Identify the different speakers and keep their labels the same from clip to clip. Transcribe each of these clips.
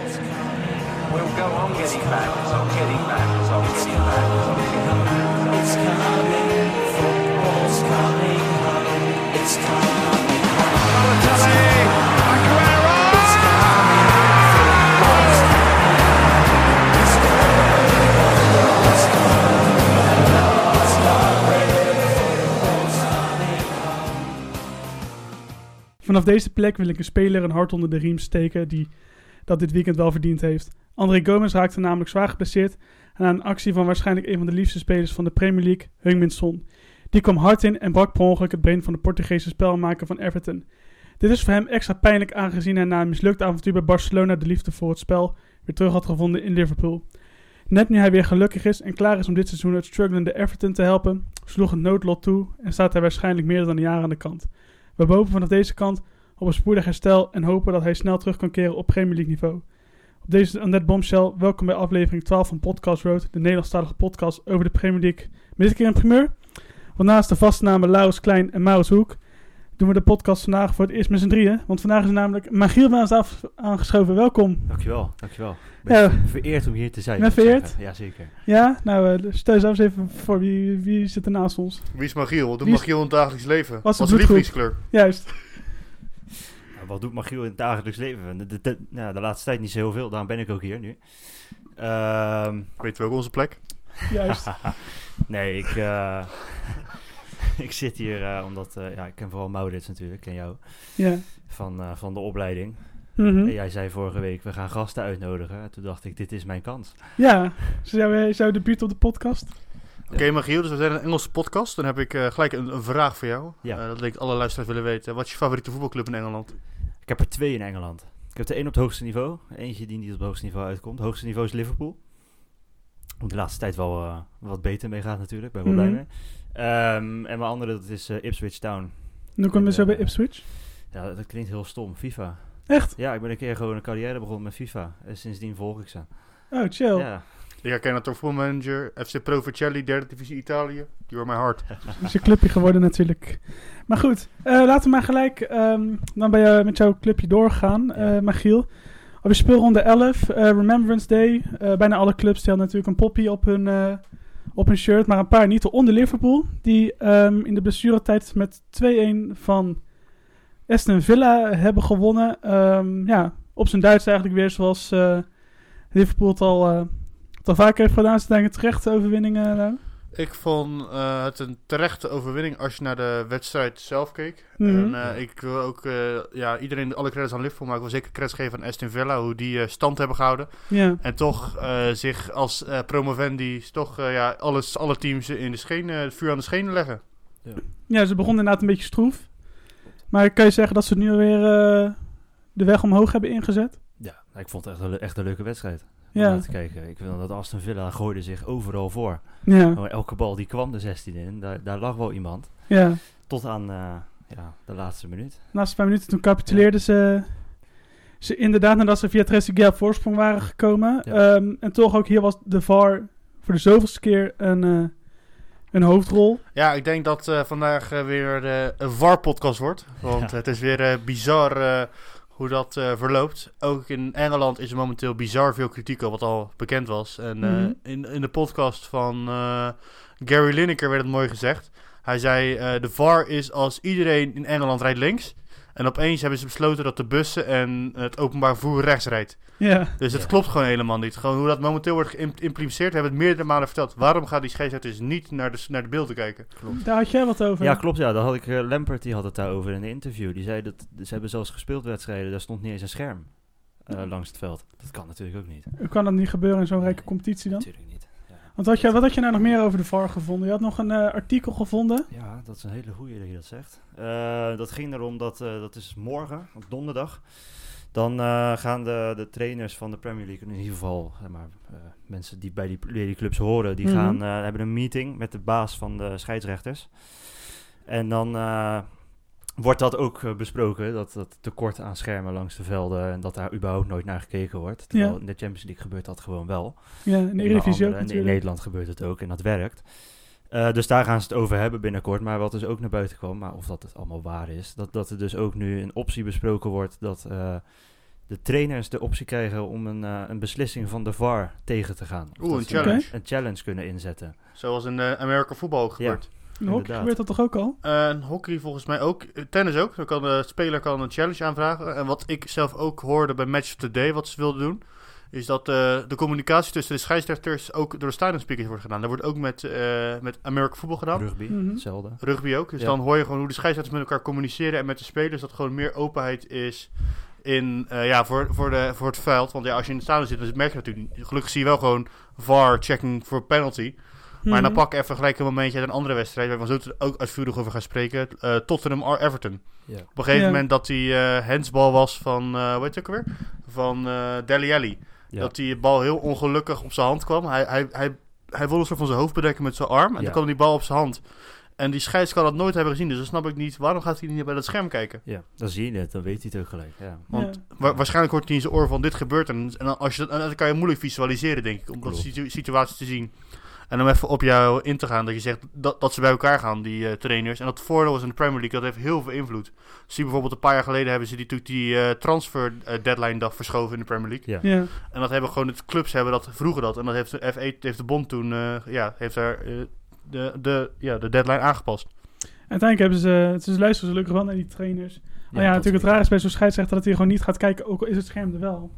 Speaker 1: We'll go on getting back, so getting back, so getting back, so getting back. It's coming, football's coming home. It's coming home. Balotelli, Aguero! It's coming, football's coming. It's coming, football's coming home. It's coming, football's coming home.
Speaker 2: Vanaf deze plek wil ik een speler een hart onder de riem steken die dat dit weekend wel verdiend heeft. André Gomez raakte namelijk zwaar geblesseerd aan een actie van waarschijnlijk een van de liefste spelers van de Premier League, Heung-Min Son. Die kwam hard in en brak per ongeluk het been van de Portugese spelmaker van Everton. Dit is voor hem extra pijnlijk aangezien hij na een mislukt avontuur bij Barcelona de liefde voor het spel weer terug had gevonden in Liverpool. Net nu hij weer gelukkig is en klaar is om dit seizoen het strugglende Everton te helpen, sloeg het noodlot toe en staat hij waarschijnlijk meer dan een jaar aan de kant. We hopen vanaf deze kant op een spoedig herstel en hopen dat hij snel terug kan keren op Premier League niveau. Op deze Annette Bombshell, welkom bij aflevering 12 van Podcast Road, de Nederlandstalige podcast over de Premier League. Met dit keer een primeur, want naast de vaste namen Laurens Klein en Maurits Hoek doen we de podcast vandaag voor het eerst met z'n drieën. Want vandaag is namelijk Magiel bij ons af- aangeschoven. Welkom.
Speaker 3: Dankjewel, dankjewel. Ik ben
Speaker 2: Ja,
Speaker 3: vereerd om hier te zijn.
Speaker 2: Je bent
Speaker 3: moet ik
Speaker 2: Nou, vereerd?
Speaker 3: zeggen. Jazeker.
Speaker 2: ja nou eh, stel jezelf eens even voor, wie, wie zit er naast ons?
Speaker 4: Wie is Magiel? Wat doet
Speaker 2: Wie is-
Speaker 4: Magiel in het dagelijks leven?
Speaker 2: Wat
Speaker 4: Wat
Speaker 2: is
Speaker 4: is
Speaker 2: de
Speaker 4: zijn
Speaker 2: bloedgroep?
Speaker 4: lievelingskleur?
Speaker 2: Juist.
Speaker 3: Nou, wat doet Magiel in het dagelijks leven? De, de, de- nou, de laatste tijd niet zo heel veel, daarom ben ik ook hier nu. Ehm,
Speaker 4: Weten we ook onze plek?
Speaker 2: Juist.
Speaker 3: nee, ik, eh, ik zit hier eh, omdat eh, ja, ik ken vooral Maurits natuurlijk, ik ken jou,
Speaker 2: Ja.
Speaker 3: van, eh, van de opleiding.
Speaker 2: Mhm.
Speaker 3: En jij zei vorige week, we gaan gasten uitnodigen. En toen dacht ik, dit is mijn kans.
Speaker 2: Ja, zou jij zou debuut op de podcast?
Speaker 4: Oké, Magiel, dus we zijn een Engelse podcast. Dan heb ik eh, gelijk een, een vraag voor jou.
Speaker 3: Ja.
Speaker 4: Eh, dat denk ik alle luisteraars willen weten. Wat is je favoriete voetbalclub in Engeland?
Speaker 3: Ik heb er twee in Engeland. Ik heb er één op het hoogste niveau. Eentje die niet op het hoogste niveau uitkomt. Het hoogste niveau is Liverpool. Om de laatste tijd wel eh, wat beter mee gaat natuurlijk. Ben ik wel blij
Speaker 2: Mhm.
Speaker 3: mee. Ehm, en mijn andere, dat is eh, Ipswich Town.
Speaker 2: Nu komen we
Speaker 3: Ja.
Speaker 2: zo bij Ipswich.
Speaker 3: Ja, dat, dat klinkt heel stom. FIFA.
Speaker 2: Echt?
Speaker 3: Ja, ik ben een keer gewoon een carrière begonnen met FIFA. En sindsdien volg ik ze.
Speaker 2: Oh, chill.
Speaker 3: Ja.
Speaker 4: Ik herken het door Football Manager, FC Provercelli, derde divisie Italië. You're my heart.
Speaker 2: is een clubje geworden natuurlijk. Maar goed, eh, laten we maar gelijk ehm, dan bij jou, met jouw clubje doorgaan, eh
Speaker 3: Ja.
Speaker 2: Magiel. Op je speelronde 11, eh, Remembrance Day. eh, bijna alle clubs stelden natuurlijk een poppy op hun, eh, op hun shirt, maar een paar niet. Onder Liverpool, die ehm, in de blessuretijd met 2-1 van Aston Villa hebben gewonnen. Ehm, ja, op zijn Duits eigenlijk weer, zoals eh, Liverpool het al, eh, het al vaker heeft gedaan. Ze denk ik terecht overwinningen. nou.
Speaker 4: Ik vond eh, het een terechte overwinning als je naar de wedstrijd zelf keek.
Speaker 2: Mhm.
Speaker 4: En eh, ik wil ook eh, ja, iedereen alle credits aan Liverpool, maar ik wil zeker credits geven aan Aston Villa, hoe die eh, stand hebben gehouden.
Speaker 2: Ja,
Speaker 4: En toch eh, zich als eh, promovendi toch eh, ja, alles, alle teams in de schenen, het vuur aan de schenen leggen.
Speaker 2: Ja, ze begonnen inderdaad een beetje stroef. Maar kan je zeggen dat ze nu weer eh, de weg omhoog hebben ingezet?
Speaker 3: ja, ik vond het echt een, le- echt een leuke wedstrijd. Om
Speaker 2: Ja,
Speaker 3: naar te kijken. Ik vind dat Aston Villa gooide zich overal voor.
Speaker 2: ja,
Speaker 3: Elke bal die kwam de 16 in. Daar, daar lag wel iemand.
Speaker 2: ja.
Speaker 3: Tot aan eh, ja, de laatste minuut.
Speaker 2: Naast vijf minuten toen capituleerden ze, ze inderdaad nadat ze via Trezeguet op voorsprong waren gekomen.
Speaker 3: Ja.
Speaker 2: Ehm, en toch ook hier was de VAR voor de zoveelste keer een, eh, een hoofdrol.
Speaker 4: Ja, ik denk dat eh, vandaag eh, weer eh, een VAR-podcast wordt. Want
Speaker 3: Ja.
Speaker 4: het is weer eh, bizar eh, hoe dat eh, verloopt. Ook in Engeland is er momenteel bizar veel kritiek op, wat al bekend was. En eh,
Speaker 2: Mhm.
Speaker 4: in, in de podcast van eh, Gary Lineker werd het mooi gezegd. Hij zei, eh, de VAR is als iedereen in Engeland rijdt links... En opeens hebben ze besloten dat de bussen en het openbaar vervoer rechts rijdt.
Speaker 2: Ja,
Speaker 4: Dus het
Speaker 3: Ja.
Speaker 4: klopt gewoon helemaal niet. Gewoon hoe dat momenteel wordt geïmpliceerd, hebben we het meerdere malen verteld. Waarom gaat die scheidsrechter dus niet naar de, naar de beelden kijken?
Speaker 2: daar had jij wat over.
Speaker 3: Ja, klopt. Ja, daar had ik eh, Lampert die had het daarover in een interview. Die zei dat ze hebben zelfs gespeeld wedstrijden. Daar stond niet eens een scherm eh, langs het veld. Dat kan natuurlijk ook niet.
Speaker 2: Hoe kan dat niet gebeuren in zo'n rijke competitie dan?
Speaker 3: Natuurlijk niet. Ja.
Speaker 2: Want had jij, wat had je nou nog meer over de VAR gevonden? Je had nog een eh, artikel gevonden.
Speaker 3: Ja, dat is een hele goeie dat je dat zegt. Eh, dat ging erom dat, eh, dat is morgen, op donderdag. Dan eh, gaan de, de trainers van de Premier League, in ieder geval eh, maar, eh, mensen die bij die, bij die clubs horen, die
Speaker 2: Mhm.
Speaker 3: gaan, eh, hebben een meeting met de baas van de scheidsrechters. En dan eh, wordt dat ook eh, besproken, dat, dat tekort aan schermen langs de velden en dat daar überhaupt nooit naar gekeken wordt. Terwijl
Speaker 2: Ja.
Speaker 3: in de Champions League gebeurt dat gewoon wel.
Speaker 2: Ja, in de
Speaker 3: Onder
Speaker 2: Eredivisie
Speaker 3: andere.
Speaker 2: ook
Speaker 3: En in
Speaker 2: natuurlijk.
Speaker 3: Nederland gebeurt het ook en dat werkt. Eh, dus daar gaan ze het over hebben binnenkort. Maar wat dus ook naar buiten kwam, maar of dat het allemaal waar is, dat, dat er dus ook nu een optie besproken wordt dat eh, de trainers de optie krijgen om een, eh, een beslissing van de VAR tegen te gaan. Of
Speaker 4: Oeh,
Speaker 3: dat
Speaker 4: een
Speaker 3: ze daar
Speaker 4: challenge.
Speaker 3: Een challenge kunnen inzetten.
Speaker 4: Zoals in eh American Football ook gebeurt. Eh,
Speaker 2: In de hockey
Speaker 3: Inderdaad.
Speaker 2: gebeurt dat toch ook al?
Speaker 4: En hockey volgens mij ook. Eh, Tennis ook. Dan kan de speler kan een challenge aanvragen. En wat ik zelf ook hoorde bij Match of the Day, wat ze wilden doen, is dat eh, de communicatie tussen de scheidsrechters ook door de speakers wordt gedaan. Dat wordt ook met, eh met American Football gedaan.
Speaker 3: Rugby,
Speaker 2: Mhm.
Speaker 3: hetzelfde.
Speaker 4: Rugby ook. Dus
Speaker 3: Ja.
Speaker 4: dan hoor je gewoon hoe de scheidsrechters met elkaar communiceren en met de spelers. Dat gewoon meer openheid is in, eh, ja, voor, voor, de, voor het veld. Want ja, als je in het stadion zit, dan merk je dat natuurlijk niet. Gelukkig zie je wel gewoon VAR checking voor penalty. Maar dan
Speaker 2: Mhm.
Speaker 4: pak ik even gelijk een momentje uit een andere wedstrijd. Waar we zo te- ook uitvoerig over gaan spreken. eh, Tottenham R- Everton.
Speaker 3: Ja.
Speaker 4: Op een gegeven
Speaker 2: Ja.
Speaker 4: moment dat die eh handsbal was van. eh hoe heet het ook alweer? Van eh Deli Alli.
Speaker 3: Ja.
Speaker 4: Dat die bal heel ongelukkig op zijn hand kwam. Hij, hij, hij, hij wilde een soort van zijn hoofd bedekken met zijn arm. En
Speaker 3: Ja.
Speaker 4: toen kwam die bal op zijn hand. En die scheids kan dat nooit hebben gezien. Dus dan snap ik niet. Waarom gaat hij niet bij dat scherm kijken?
Speaker 3: Ja, dan zie je het, dan weet hij het ook gelijk. Ja.
Speaker 4: Want
Speaker 2: Ja.
Speaker 4: wa- waarschijnlijk hoort hij in zijn oor van dit gebeurt. En, en dan, als je dat, en dan kan je moeilijk visualiseren, denk ik. Om dat
Speaker 3: Klopt.
Speaker 4: situ- situatie te zien. En om even op jou in te gaan. Dat je zegt dat, dat ze bij elkaar gaan, die eh, trainers. En dat voordeel is in de Premier League. Dat heeft heel veel invloed. Zie bijvoorbeeld een paar jaar geleden hebben ze die, natuurlijk die eh, transfer eh, deadline dag verschoven in de Premier League.
Speaker 2: Ja. Oh
Speaker 4: En dat hebben gewoon de clubs hebben dat vroeger dat. En dat heeft de, F1, heeft de bond toen eh, ja, heeft daar, eh, de, de, ja, de deadline aangepast.
Speaker 2: Uiteindelijk hebben ze, het is luisteren ze gelukkig wel naar die trainers. Maar ja,
Speaker 3: dat
Speaker 2: natuurlijk het
Speaker 3: weet
Speaker 2: raar is bij zo'n scheidsrechter dat hij gewoon niet gaat kijken, ook al is het scherm er wel.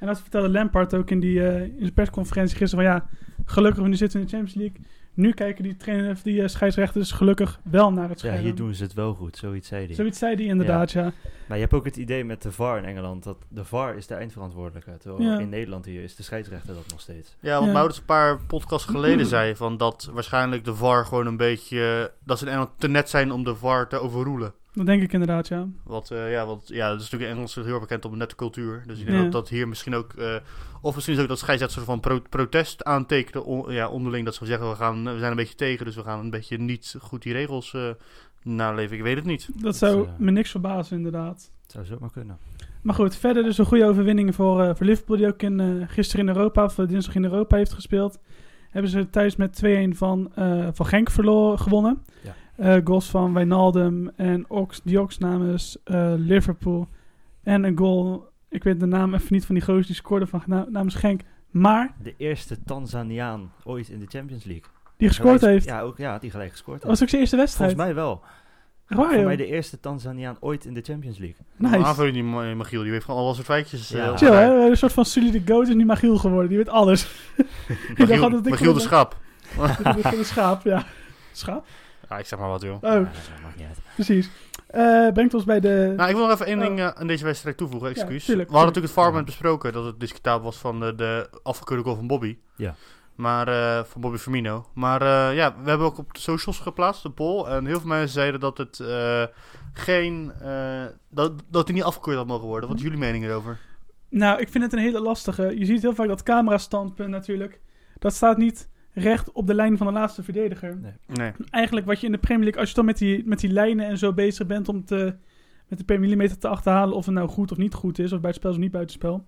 Speaker 2: En dat vertelde Lampard ook in, die, eh, in zijn persconferentie gisteren van ja, gelukkig we nu zitten in de Champions League. Nu kijken die, trainer, of die eh, scheidsrechters gelukkig wel naar het
Speaker 3: ik.
Speaker 2: scherm.
Speaker 3: Ja, hier doen ze het wel goed, zoiets zei hij.
Speaker 2: Zoiets zei hij inderdaad, ja.
Speaker 3: Maar je hebt ook het idee met de VAR in Engeland dat de VAR is de eindverantwoordelijke. Terwijl
Speaker 2: Ja.
Speaker 3: in Nederland hier is de scheidsrechter dat nog steeds.
Speaker 4: Ja, want
Speaker 2: Ja.
Speaker 4: Maurits een paar podcasts geleden zei van dat waarschijnlijk de VAR gewoon een beetje eh, dat ze in Engeland te net zijn om de VAR te overroelen.
Speaker 2: Dat denk ik inderdaad, ja.
Speaker 4: Wat, eh, ja, want ja, dat is natuurlijk in Engeland heel erg bekend om nette cultuur. Dus ik denk
Speaker 2: Ja.
Speaker 4: dat dat hier misschien ook, eh, of misschien is ook dat scheidsrechters soort van pro- protest aantekenen on- ja, onderling dat ze zeggen we gaan, eh, we zijn een beetje tegen, dus we gaan een beetje niet goed die regels eh, naleven. Ik weet het niet.
Speaker 2: Dat zou
Speaker 3: eh,
Speaker 2: me niks verbazen inderdaad.
Speaker 3: Het zou zomaar kunnen.
Speaker 2: Maar goed, verder dus een goede overwinning voor, eh, voor Liverpool die ook in, eh, gisteren in Europa, of eh, dinsdag in Europa heeft gespeeld. Hebben ze thuis met 2-1 van, eh, van Genk verloren, gewonnen.
Speaker 3: Ja.
Speaker 2: Eh, goals van Wijnaldum en Ox, die Ox namens eh, Liverpool. En een goal, ik weet de naam even niet van die gozer die scoorde van, na- namens Genk. Maar
Speaker 3: De eerste Tanzaniaan ooit in de Champions League.
Speaker 2: die gescoord
Speaker 3: Gelijk-
Speaker 2: heeft.
Speaker 3: Ja, ook, ja die gelijk gescoord
Speaker 2: Dat
Speaker 3: heeft.
Speaker 2: was ook zijn eerste wedstrijd.
Speaker 3: Volgens mij wel.
Speaker 2: Echt waar,
Speaker 3: Voor
Speaker 2: joh?
Speaker 3: mij de eerste Tanzaniaan ooit in de Champions League.
Speaker 4: Nice.
Speaker 2: Nice.
Speaker 4: Aanvulling die Ma- Magiel, eh, die heeft gewoon al dat soort feitjes. eh,
Speaker 3: Ja.
Speaker 4: op
Speaker 2: Chill,
Speaker 4: elkaar.
Speaker 2: hè? Een soort van Sully de Goat is nu Magiel geworden. Die weet alles. Die dacht
Speaker 4: Magiel,
Speaker 2: altijd, ik
Speaker 4: Magiel de
Speaker 2: wil-
Speaker 4: Schaap.
Speaker 2: Dit is een schaap, ja. Schaap?
Speaker 4: Ja, ik zeg maar wat joh.
Speaker 2: Oh,
Speaker 3: Ja, dat maakt niet uit.
Speaker 2: precies. Eh, brengt ons bij de...
Speaker 4: Nou, ik wil nog even één
Speaker 2: Oh.
Speaker 4: ding eh, aan deze wedstrijd toevoegen, excuus.
Speaker 2: tuurlijk,
Speaker 4: We hadden
Speaker 2: tuurlijk.
Speaker 4: natuurlijk het farment besproken dat het discutabel was van de, de afgekeurde goal van Bobby.
Speaker 3: Ja.
Speaker 4: Maar, eh, van Bobby Firmino. Maar eh, ja, we hebben ook op de socials geplaatst, de poll. En heel veel mensen zeiden dat het eh, geen... eh, dat, dat hij niet afgekeurd had mogen worden. Wat is jullie mening erover?
Speaker 2: Nou, ik vind het een hele lastige. Je ziet heel vaak dat camerastandpunt natuurlijk. Dat staat niet recht op de lijn van de laatste verdediger.
Speaker 4: Nee.
Speaker 2: Eigenlijk wat je in de Premier League... Als je dan met die, met die lijnen en zo bezig bent om te, met de per millimeter te achterhalen... of het nou goed of niet goed is, of buitenspel of niet buitenspel...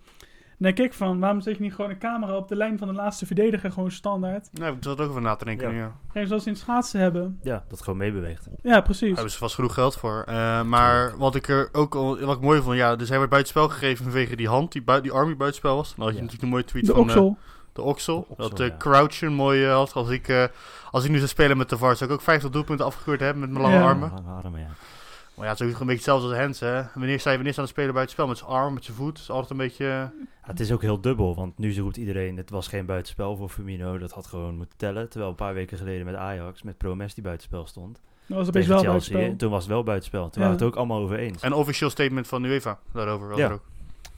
Speaker 2: Dan denk ik van, waarom zet je niet gewoon een camera op de lijn van de laatste verdediger... gewoon standaard?
Speaker 4: Nee, ik zat er ook over na te denken.
Speaker 3: Ja.
Speaker 4: nu, Ja.
Speaker 2: Kijk, zoals ze in het schaatsen hebben.
Speaker 3: Ja, dat gewoon meebeweegt.
Speaker 2: Ja,
Speaker 4: Daar
Speaker 2: precies.
Speaker 4: hebben ze vast genoeg geld voor. Eh, maar wat ik er ook al- wat ik mooi vond, ja, dus hij werd buitenspel gegeven vanwege die hand, die, bui- die arm die buitenspel was. Dan had je
Speaker 3: Ja.
Speaker 4: natuurlijk een mooie tweet
Speaker 2: De
Speaker 4: van eh,
Speaker 2: oksel.
Speaker 4: De oksel.
Speaker 3: De oksel,
Speaker 4: dat eh
Speaker 3: ja.
Speaker 4: Crouch een mooie had. Als ik, eh, als ik nu zou spelen met de VAR, zou ik ook 50 doelpunten afgekeurd hebben met mijn lange
Speaker 2: Ja.
Speaker 4: armen.
Speaker 3: Lange armen, ja.
Speaker 4: Maar ja, het is ook een beetje hetzelfde als Hens, hè. Wanneer sta je wanneer staat de speler bij het spel? Met zijn arm, met zijn voet. Het is altijd een beetje... eh,
Speaker 3: Ja, Het is ook heel dubbel, want nu roept iedereen... het was geen buitenspel voor Firmino, dat had gewoon moeten tellen. Terwijl een paar weken geleden met Ajax, met Promes die buitenspel stond...
Speaker 2: Dat was opeens
Speaker 3: tegen
Speaker 2: wel
Speaker 3: Chelsea,
Speaker 2: buitenspel.
Speaker 3: toen was het wel buitenspel. Toen
Speaker 2: Ja.
Speaker 3: waren we het ook allemaal over eens.
Speaker 4: Een officieel statement van UEFA daarover. Was
Speaker 3: Ja.
Speaker 4: er ook.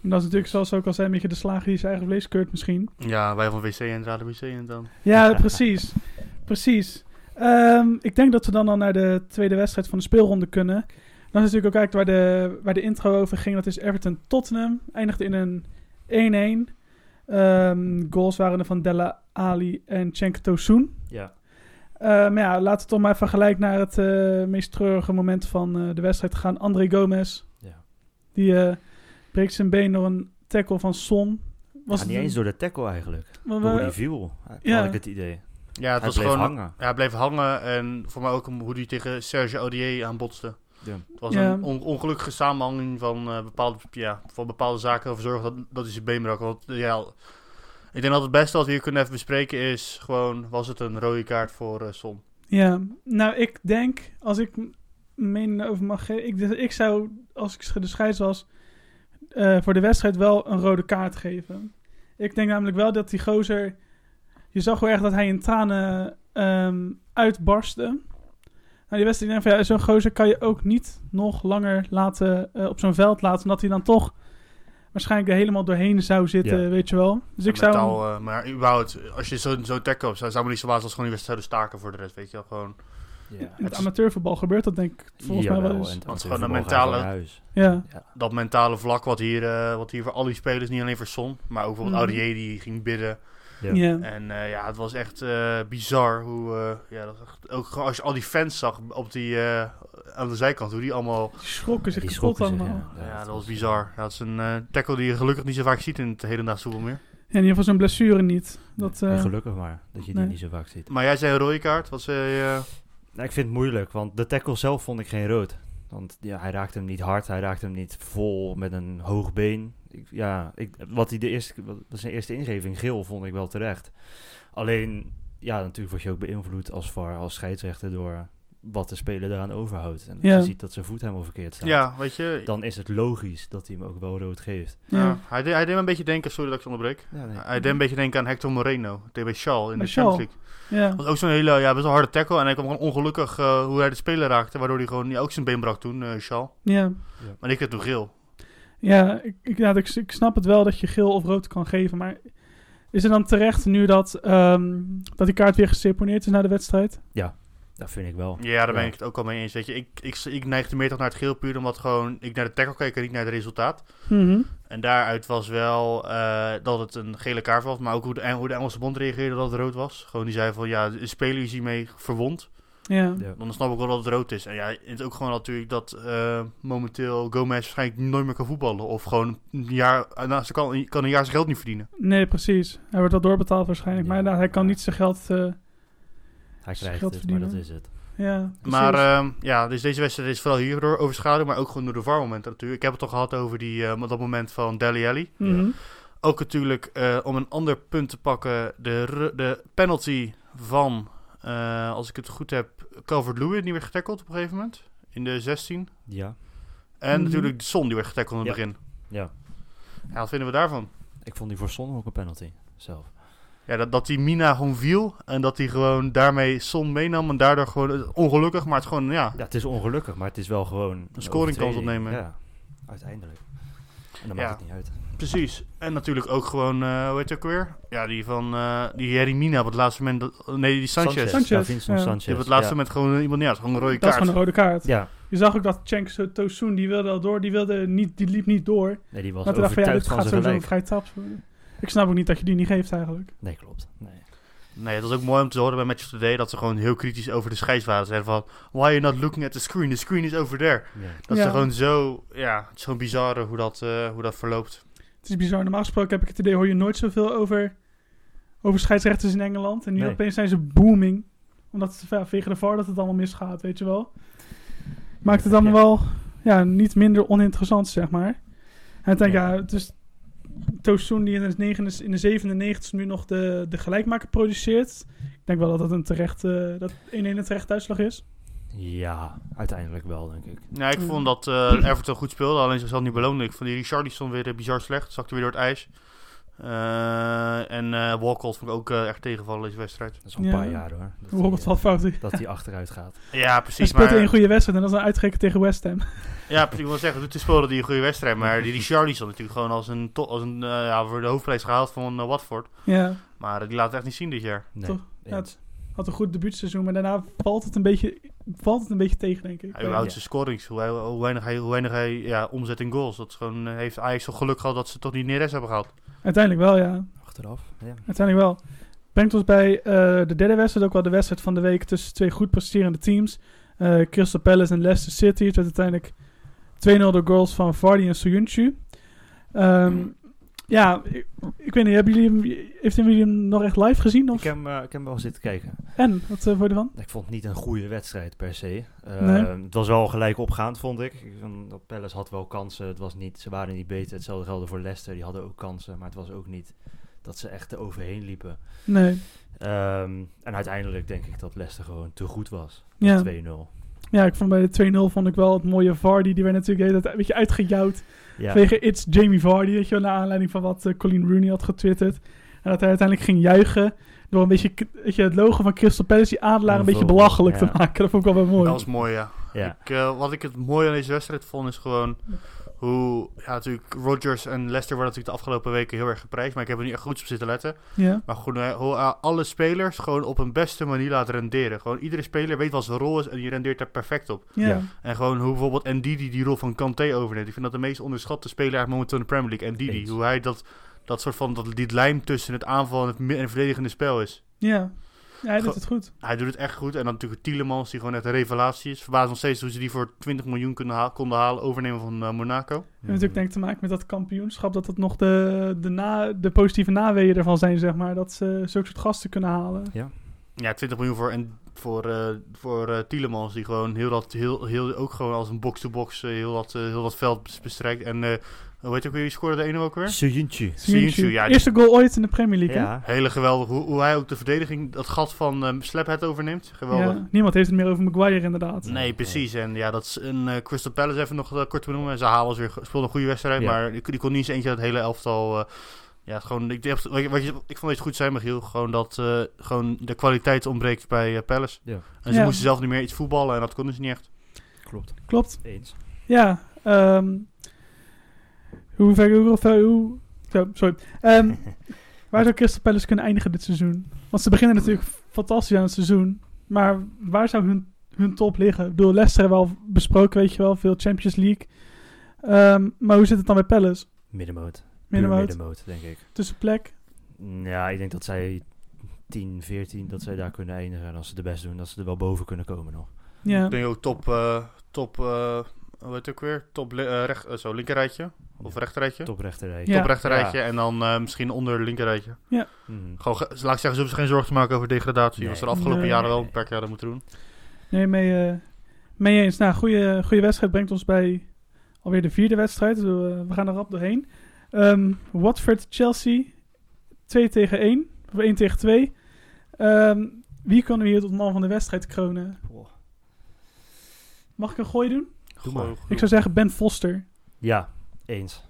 Speaker 2: En dat is natuurlijk, zoals ze ook al zei, een beetje de slager die zijn eigen vlees keurt misschien.
Speaker 4: ja, wij van WC en Raden WC en dan.
Speaker 2: Ja, precies. precies. Ehm, ik denk dat we dan al naar de tweede wedstrijd van de speelronde kunnen. Dat is natuurlijk ook eigenlijk waar de, waar de intro over ging. Dat is Everton-Tottenham. Eindigde in een 1-1. Ehm, goals waren er van Della Ali en Cenk Tosun.
Speaker 3: Ja,
Speaker 2: Eh, maar ja, laten we toch maar even gelijk naar het eh, meest treurige moment van eh, de wedstrijd gaan. André Gomez,
Speaker 3: ja.
Speaker 2: die eh, breekt zijn been door een tackle van Son.
Speaker 3: ja
Speaker 2: het
Speaker 3: niet
Speaker 2: een-
Speaker 3: eens door de tackle eigenlijk.
Speaker 2: want we-
Speaker 3: Door die viel, had
Speaker 2: Ja.
Speaker 3: ik het idee.
Speaker 4: Ja, het
Speaker 3: Hij
Speaker 4: was
Speaker 3: bleef
Speaker 4: gewoon...
Speaker 3: hangen.
Speaker 4: Ja, hij bleef hangen en voor mij ook om hoe hij tegen Serge Audier aanbotste.
Speaker 3: Ja.
Speaker 4: Het was
Speaker 2: Ja.
Speaker 4: een on- ongelukkige samenhanging van, eh, bepaalde, ja, van bepaalde zaken over zorgen dat, dat hij zijn been brak. Want eh, ja, ik denk dat het beste wat we hier kunnen even bespreken is gewoon, was het een rode kaart voor eh Son?
Speaker 2: Ja, nou ik denk, als ik m- mening over mag geven, ik, ik zou, als ik de scheids was, eh, voor de wedstrijd wel een rode kaart geven. Ik denk namelijk wel dat die gozer, je zag wel echt dat hij in tranen ehm, uitbarstte. Nou, die wedstrijd, ik denk van, ja, zo'n gozer kan je ook niet nog langer laten, eh, op zo'n veld laten, omdat hij dan toch waarschijnlijk er helemaal doorheen zou zitten,
Speaker 3: Ja.
Speaker 2: weet je wel. Dus ik zou...
Speaker 4: Mentaal, eh, maar überhaupt, als je zo'n zo tackle op zou, zou me niet zo waas als gewoon die wedstrijd zouden staken voor de rest, weet je wel. Gewoon,
Speaker 2: in
Speaker 3: Ja.
Speaker 2: het amateurvoetbal gebeurt dat denk ik volgens mij wel
Speaker 3: Jawel,
Speaker 2: eens.
Speaker 3: en het
Speaker 4: Want gewoon
Speaker 3: voetbal
Speaker 4: een
Speaker 3: gaat wel
Speaker 4: mentale-
Speaker 3: naar huis.
Speaker 2: Ja,
Speaker 4: dat mentale vlak wat hier, eh, wat hier voor al die spelers, niet alleen voor Son, maar ook bijvoorbeeld
Speaker 2: Mhm.
Speaker 4: Audier die ging bidden.
Speaker 3: Ja.
Speaker 2: ja.
Speaker 4: En eh, ja, het was echt eh, bizar hoe, eh, ja, dat, ook gewoon als je al die fans zag op die, eh, aan de zijkant, hoe die allemaal,
Speaker 2: Die schrokken zich
Speaker 3: Die
Speaker 2: kapot
Speaker 3: schrokken zich,
Speaker 2: allemaal.
Speaker 4: ja, dat was bizar. Ja, dat is een eh, tackle die je gelukkig niet zo vaak ziet in het hedendaagse voetbal meer.
Speaker 2: Ja, in ieder geval zijn blessure niet. Dat,
Speaker 3: En
Speaker 2: eh,
Speaker 3: gelukkig maar, dat je die
Speaker 2: nee.
Speaker 3: niet zo vaak ziet.
Speaker 4: Maar jij zei een rode kaart, wat zei je? eh,
Speaker 3: Nou, ik vind het moeilijk, want de tackle zelf vond ik geen rood. Want ja, hij raakte hem niet hard, hij raakte hem niet vol met een hoog been. Ik, ja, ik, wat hij de eerste, wat wat zijn eerste ingeving, geel, vond ik wel terecht. Alleen, ja, natuurlijk word je ook beïnvloed als VAR, als scheidsrechter door wat de speler daaraan overhoudt. En als
Speaker 2: Ja.
Speaker 3: je ziet dat zijn voet helemaal verkeerd staat.
Speaker 4: ja, weet je,
Speaker 3: Dan is het logisch dat hij hem ook wel rood geeft.
Speaker 2: ja.
Speaker 4: ja, hij, deed, hij deed me een beetje denken, sorry dat ik het onderbreek.
Speaker 3: Ja, nee.
Speaker 4: Hij deed een beetje denken aan Hector Moreno, tegen bij Charles in
Speaker 2: Bij
Speaker 4: de
Speaker 2: Schalke.
Speaker 4: Champions League.
Speaker 2: ja.
Speaker 4: Dat was ook zo'n hele, ja, best wel harde tackle. En hij kwam gewoon ongelukkig eh, hoe hij de speler raakte, waardoor hij gewoon ja, ook zijn been brak toen, eh Charles.
Speaker 2: ja.
Speaker 4: Maar ik heb toen geel.
Speaker 2: Ja, ik, ik, ja, ik, ik snap het wel dat je geel of rood kan geven, maar is het dan terecht nu dat, ehm, dat die kaart weer geseponeerd is na de wedstrijd?
Speaker 3: Dat vind ik wel.
Speaker 4: Ja, daar ben
Speaker 3: Ja.
Speaker 4: ik het ook al mee eens. Weet je, ik, ik, ik neigde meer toch naar het geel puur omdat gewoon ik naar de tackle keek en niet naar het resultaat.
Speaker 2: Mhm.
Speaker 4: En daaruit was wel eh, dat het een gele kaart was, maar ook hoe de, en hoe de Engelse bond reageerde dat het rood was. Gewoon die zei van ja, de speler is hiermee verwond.
Speaker 2: Ja.
Speaker 3: Ja.
Speaker 4: Dan snap ik wel dat het rood is. En ja, het is ook gewoon natuurlijk dat eh, momenteel Gomez waarschijnlijk nooit meer kan voetballen. Of gewoon een jaar, nou, ze kan, kan een jaar zijn geld niet verdienen.
Speaker 2: Nee, precies. Hij wordt wel doorbetaald waarschijnlijk,
Speaker 3: Ja,
Speaker 2: maar inderdaad, hij kan
Speaker 3: ja.
Speaker 2: niet zijn geld... eh,
Speaker 3: Hij krijgt
Speaker 2: Geld
Speaker 3: het, maar dat
Speaker 2: verdienen.
Speaker 3: is het.
Speaker 2: ja, precies.
Speaker 4: Maar ehm, ja, dus deze wedstrijd is vooral hierdoor overschaduwd, maar ook gewoon door de VAR-momenten natuurlijk. Ik heb het toch gehad over die, eh, dat moment van Deli Alli.
Speaker 2: Mhm.
Speaker 4: Ook natuurlijk, eh, om een ander punt te pakken, de, ru- de penalty van, eh, als ik het goed heb, Calvert-Lewin, die werd getackled op een gegeven moment. In de 16.
Speaker 3: Ja.
Speaker 4: En
Speaker 2: Mhm.
Speaker 4: natuurlijk de Son, die werd getackled in het
Speaker 3: Ja.
Speaker 4: begin.
Speaker 3: ja,
Speaker 4: Ja, wat vinden we daarvan?
Speaker 3: ik vond die voor Son ook een penalty zelf.
Speaker 4: Ja, dat, dat die Mina gewoon viel en dat hij gewoon daarmee Son meenam en daardoor gewoon eh, ongelukkig, maar het gewoon, ja.
Speaker 3: Ja, het is ongelukkig, maar het is wel gewoon... Een
Speaker 4: scoringkans
Speaker 3: overtreding.
Speaker 4: opnemen.
Speaker 3: Ja, uiteindelijk. En dan
Speaker 4: Ja.
Speaker 3: maakt het niet uit.
Speaker 4: Precies. En natuurlijk ook gewoon, eh hoe heet het ook weer? Ja, die van, eh die Jerry Mina op het laatste moment, dat- nee, die Sanchez.
Speaker 2: Sanchez,
Speaker 3: Ja, Vincent
Speaker 2: ja.
Speaker 3: Sanchez.
Speaker 4: Die op het laatste
Speaker 3: ja.
Speaker 4: moment gewoon iemand, ja, het is gewoon een rode
Speaker 2: Dat is
Speaker 4: kaart.
Speaker 2: gewoon een rode kaart.
Speaker 3: Ja,
Speaker 2: Je zag ook dat Cenk So- Tosun, die wilde al door, die, wilde niet, die liep niet door.
Speaker 3: nee, die was
Speaker 2: Maar toen dacht ik, ja,
Speaker 3: overtuigd
Speaker 2: dit
Speaker 3: van
Speaker 2: gaat
Speaker 3: zijn
Speaker 2: sowieso een
Speaker 3: gelijk.
Speaker 2: vrij trap worden. Ik snap ook niet dat je die niet geeft eigenlijk.
Speaker 3: Nee, klopt. Nee.
Speaker 4: Nee, het was ook mooi om te horen bij Match of the Day dat ze gewoon heel kritisch over de scheids waren. Ze zeiden van, why are you not looking at the screen? The screen is over there.
Speaker 3: Ja.
Speaker 4: Dat
Speaker 2: Ja.
Speaker 4: ze gewoon zo, ja, het is gewoon bizar hoe dat, eh, hoe dat verloopt.
Speaker 2: Het is bizar. Normaal gesproken heb ik het idee, hoor je nooit zoveel over, over scheidsrechters in Engeland. En nu
Speaker 3: Nee.
Speaker 2: opeens zijn ze booming. Omdat ze ja, vegen de VAR dat het allemaal misgaat, weet je wel. Maakt het allemaal
Speaker 3: Ja.
Speaker 2: wel ja, niet minder oninteressant, zeg maar. En ik denk, ja, het is Tosun die in de, negen, in de 97 nu nog de, de gelijkmaker produceert. Ik denk wel dat dat een terecht, eh, dat 1-1 een terecht uitslag is.
Speaker 3: ja, uiteindelijk wel, denk ik.
Speaker 4: Ja, ik
Speaker 2: Mm.
Speaker 4: vond dat eh, Everton goed speelde, alleen zichzelf niet beloonde. Ik vond die Richarlison weer eh, bizar slecht, zakte weer door het ijs. Eh, en eh Walcott vond ik ook eh, echt tegenvallen deze wedstrijd.
Speaker 3: Dat is al een
Speaker 2: Ja.
Speaker 3: paar jaar, hoor. Dat
Speaker 2: Hoe wat
Speaker 3: hij,
Speaker 2: wat
Speaker 3: eh,
Speaker 2: fout is.
Speaker 3: Dat hij achteruit gaat.
Speaker 4: Ja,
Speaker 2: Hij
Speaker 4: precies.
Speaker 2: speelt
Speaker 4: Maar,
Speaker 2: één goede wedstrijd en dat is dan uitgerekend tegen West Ham.
Speaker 4: ja, precies, ik wil zeggen, toen speelde die een goede wedstrijd. Maar die Richarlison natuurlijk gewoon als een, to- als een eh, ja, voor de hoofdprijs gehaald van eh, Watford.
Speaker 2: Ja.
Speaker 4: Maar eh, die laat het echt niet zien dit jaar.
Speaker 3: Nee,
Speaker 2: Toch? Ja,
Speaker 3: eens.
Speaker 2: Had een goed debuutseizoen, maar daarna valt het een beetje, valt het een beetje tegen, denk ik.
Speaker 4: Hij houdt zijn scorings, hoe, hij- hoe weinig hij, hoe weinig hij ja, omzet in goals. Dat is gewoon, eh, heeft Ajax toch geluk gehad dat ze toch die Neres hebben gehad.
Speaker 2: Uiteindelijk wel, ja.
Speaker 3: Achteraf. Ja.
Speaker 2: Uiteindelijk wel. Brengt ons bij eh, de derde wedstrijd, ook wel de wedstrijd van de week tussen twee goed presterende teams. Eh, Crystal Palace en Leicester City.
Speaker 3: Hmm.
Speaker 2: Het werd uiteindelijk 2-0 door goals van Vardy en Soyuncu. Ehm, Ja, ik, ik weet niet, hebben jullie hem, heeft jullie hem nog echt live gezien? Of?
Speaker 3: Ik heb, hem, eh, ik heb hem wel zitten kijken.
Speaker 2: En, wat eh, vond je ervan?
Speaker 3: Ik vond het niet een goede wedstrijd per se. Eh,
Speaker 2: Nee.
Speaker 3: Het was wel gelijk opgaand, vond ik. Ik vond Dat Palace had wel kansen. Het was niet, ze waren niet beter. Hetzelfde geldde voor Leicester. Die hadden ook kansen. Maar het was ook niet dat ze echt er overheen liepen.
Speaker 2: Nee.
Speaker 3: Ehm, en uiteindelijk denk ik dat Leicester gewoon te goed was.
Speaker 2: Ja.
Speaker 3: Met 2-0.
Speaker 2: Ja, ik vond bij de 2-0 vond ik wel het mooie Vardy. Die werd natuurlijk de hele tijd een beetje uitgejouwd.
Speaker 3: Ja.
Speaker 2: Vanwege It's Jamie Vardy, weet je wel, naar aanleiding van wat eh, Colin Rooney had getwitterd. En dat hij uiteindelijk ging juichen door een beetje k- weet je, het logo van Crystal Palace, die adelaar, een
Speaker 3: Een
Speaker 2: beetje
Speaker 3: vogel,
Speaker 2: belachelijk
Speaker 3: ja.
Speaker 2: te maken. Dat vond ik wel wel mooi.
Speaker 4: Dat was mooi, ja.
Speaker 3: ja.
Speaker 4: Ik, eh, wat ik het mooie aan deze wedstrijd vond is gewoon hoe... Ja, natuurlijk, Rodgers en Leicester worden natuurlijk de afgelopen weken heel erg geprijsd. Maar ik heb er niet echt goed op zitten letten.
Speaker 2: Ja,
Speaker 4: Maar gewoon, eh, hoe eh, alle spelers gewoon op hun beste manier laten renderen. Gewoon iedere speler weet wat zijn rol is en die rendeert daar perfect op.
Speaker 2: ja.
Speaker 3: Ja.
Speaker 4: En gewoon hoe bijvoorbeeld Ndidi die rol van Kanté overneemt. Ik vind dat de meest onderschatte speler eigenlijk momenteel in de Premier League. Ndidi,
Speaker 3: Eens.
Speaker 4: hoe hij dat, dat soort van, dat, die lijm tussen het aanval en het, mi- en het verdedigende spel is.
Speaker 2: ja. Ja, hij doet
Speaker 4: Goed.
Speaker 2: het goed.
Speaker 4: Hij doet het echt goed. En dan natuurlijk Tielemans, die gewoon echt een revelatie is. Verbaasd nog steeds hoe ze die voor 20 miljoen kunnen haal- konden halen, overnemen van eh, Monaco.
Speaker 2: Het heeft natuurlijk denk ik te maken met dat kampioenschap, dat dat nog de, de, na, de positieve naweeën ervan zijn, zeg maar. Dat ze zulke soort gasten kunnen halen.
Speaker 4: Ja, 20 miljoen voor, en, voor, eh, voor eh, Tielemans, die gewoon heel dat, heel, heel, ook gewoon als een box-to-box eh, heel, dat, eh, heel dat veld bes- bestrijkt. En eh hoe heet ook weer, die scoorde de ene ook weer?
Speaker 3: Suyuntje.
Speaker 4: Siyuncu, ja, die-
Speaker 2: Eerste goal ooit in de Premier League, hè?
Speaker 3: Ja.
Speaker 4: Hele geweldig hoe, hoe hij ook de verdediging, dat gat van ehm Slaphead overneemt. Geweldig.
Speaker 2: Ja, niemand heeft het meer over Maguire inderdaad.
Speaker 4: Nee, precies. En ja, dat is een eh, Crystal Palace even nog eh, kort te noemen. Ze halen weer, speelde een goede wedstrijd,
Speaker 3: Ja.
Speaker 4: maar die, die kon niet eens eentje dat hele elftal. eh, ja, gewoon, ik, dacht- wat je- wat je, ik vond het goed zijn, Michiel. Gewoon dat eh, gewoon de kwaliteit ontbreekt bij eh, Palace.
Speaker 3: Ja.
Speaker 4: En ze
Speaker 2: Ja.
Speaker 4: moesten zelf niet meer iets voetballen en dat konden ze niet echt.
Speaker 3: Klopt.
Speaker 2: Klopt.
Speaker 3: Eens.
Speaker 2: Ja, ehm hoe ver, hoe, hoe, hoe- zo, sorry. Ehm, waar zou Crystal Palace kunnen eindigen dit seizoen? Want ze beginnen natuurlijk fantastisch aan het seizoen. Maar waar zou hun, hun top liggen? Ik bedoel, Leicester hebben we al besproken, weet je wel. Veel Champions League. Ehm, maar hoe zit het dan bij Palace?
Speaker 3: Middenmoot. Puur
Speaker 2: Middenmoot,
Speaker 3: Middenmoot, denk ik. Mm,
Speaker 2: tussenplek.
Speaker 3: Ja, ik denk dat zij 10, 14, dat zij daar kunnen eindigen. En als ze de best doen, dat ze er wel boven kunnen komen nog.
Speaker 2: Ja,
Speaker 4: Ik denk ook top, eh, top eh, hoe heet het ook weer? Top li- eh, recht, eh, zo, linkerrijtje. Of
Speaker 3: Ja.
Speaker 4: rechterrijtje.
Speaker 3: Top rechterrij.
Speaker 2: Ja.
Speaker 4: Top rechterrijtje en dan eh, misschien onder linkerrijtje.
Speaker 3: Mhm.
Speaker 4: Gewoon, ge- laat ik zeggen, ze hoeven zich geen zorgen te maken over degradatie.
Speaker 3: Nee.
Speaker 4: Was er de afgelopen
Speaker 2: Nee.
Speaker 4: jaren wel een paar keer hadden moeten doen.
Speaker 2: nee, mee, eh, mee eens. Nou, goede, goede wedstrijd brengt ons bij alweer de vierde wedstrijd. Dus we, we gaan er rap doorheen. Ehm, Watford-Chelsea, 2 tegen 1. Of 1 tegen 2. Ehm, wie kunnen we hier tot man van de wedstrijd kronen?
Speaker 3: Oh.
Speaker 2: Mag ik een gooi doen?
Speaker 3: Doe
Speaker 4: Gewoon
Speaker 3: maar.
Speaker 4: goed.
Speaker 2: Ik zou zeggen Ben Foster.
Speaker 3: Ja, eens.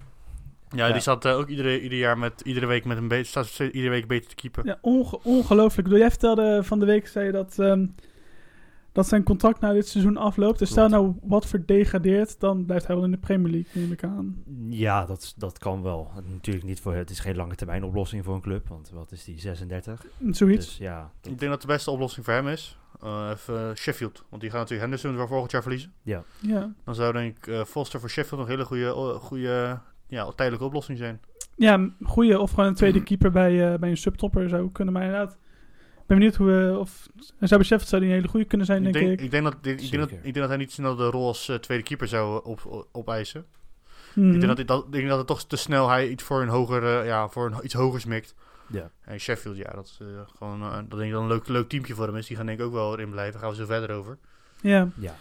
Speaker 4: Ja,
Speaker 3: Ja.
Speaker 4: die staat eh, ook iedere, ieder jaar met, iedere week met een beetje, staat steeds iedere week beter te keeper.
Speaker 2: Ja, onge- ongelooflijk. Ik bedoel, Jij vertelde van de week zei je dat, ehm, dat zijn contract na dit seizoen afloopt. Dus stel
Speaker 3: Klopt.
Speaker 2: nou Watford degradeert, dan blijft hij wel in de Premier League, neem ik aan.
Speaker 3: Ja, dat, is- dat kan wel. Natuurlijk niet voor... Het is geen lange termijn oplossing voor een club. Want wat is die, 36?
Speaker 2: Zoiets.
Speaker 3: Dus ja, dat-
Speaker 4: Ik denk dat de beste oplossing voor hem is eh, even eh, Sheffield. Want die gaan natuurlijk Henderson weer volgend jaar verliezen.
Speaker 2: Ja.
Speaker 4: Dan zou denk ik eh, Foster voor Sheffield nog een hele goede, eh, goede ja, tijdelijke oplossing zijn.
Speaker 2: Ja, een goeie. Of gewoon een
Speaker 4: Mhm.
Speaker 2: tweede keeper bij, eh, bij een subtopper zou kunnen. Maar inderdaad, ik ben benieuwd hoe... eh, of, en zou Besef zou die een hele goeie kunnen zijn,
Speaker 4: ik,
Speaker 2: denk,
Speaker 4: denk,
Speaker 2: ik.
Speaker 4: ik, denk dat, ik, denk dat,
Speaker 3: Zeker.
Speaker 4: ik denk dat hij niet snel de rol als eh, tweede keeper zou op, op, opeisen.
Speaker 2: Mhm.
Speaker 4: Ik denk dat, hij dat, ik denk dat het toch te snel hij iets voor een hoger, eh, ja, voor een, iets hogers mikt.
Speaker 3: ja.
Speaker 4: En Sheffield, ja, dat is eh, gewoon, eh, dat denk ik dan een leuk, leuk teampje voor hem is. Die gaan denk ik ook wel erin blijven. Daar gaan we zo verder over.
Speaker 2: Ja.
Speaker 3: ja.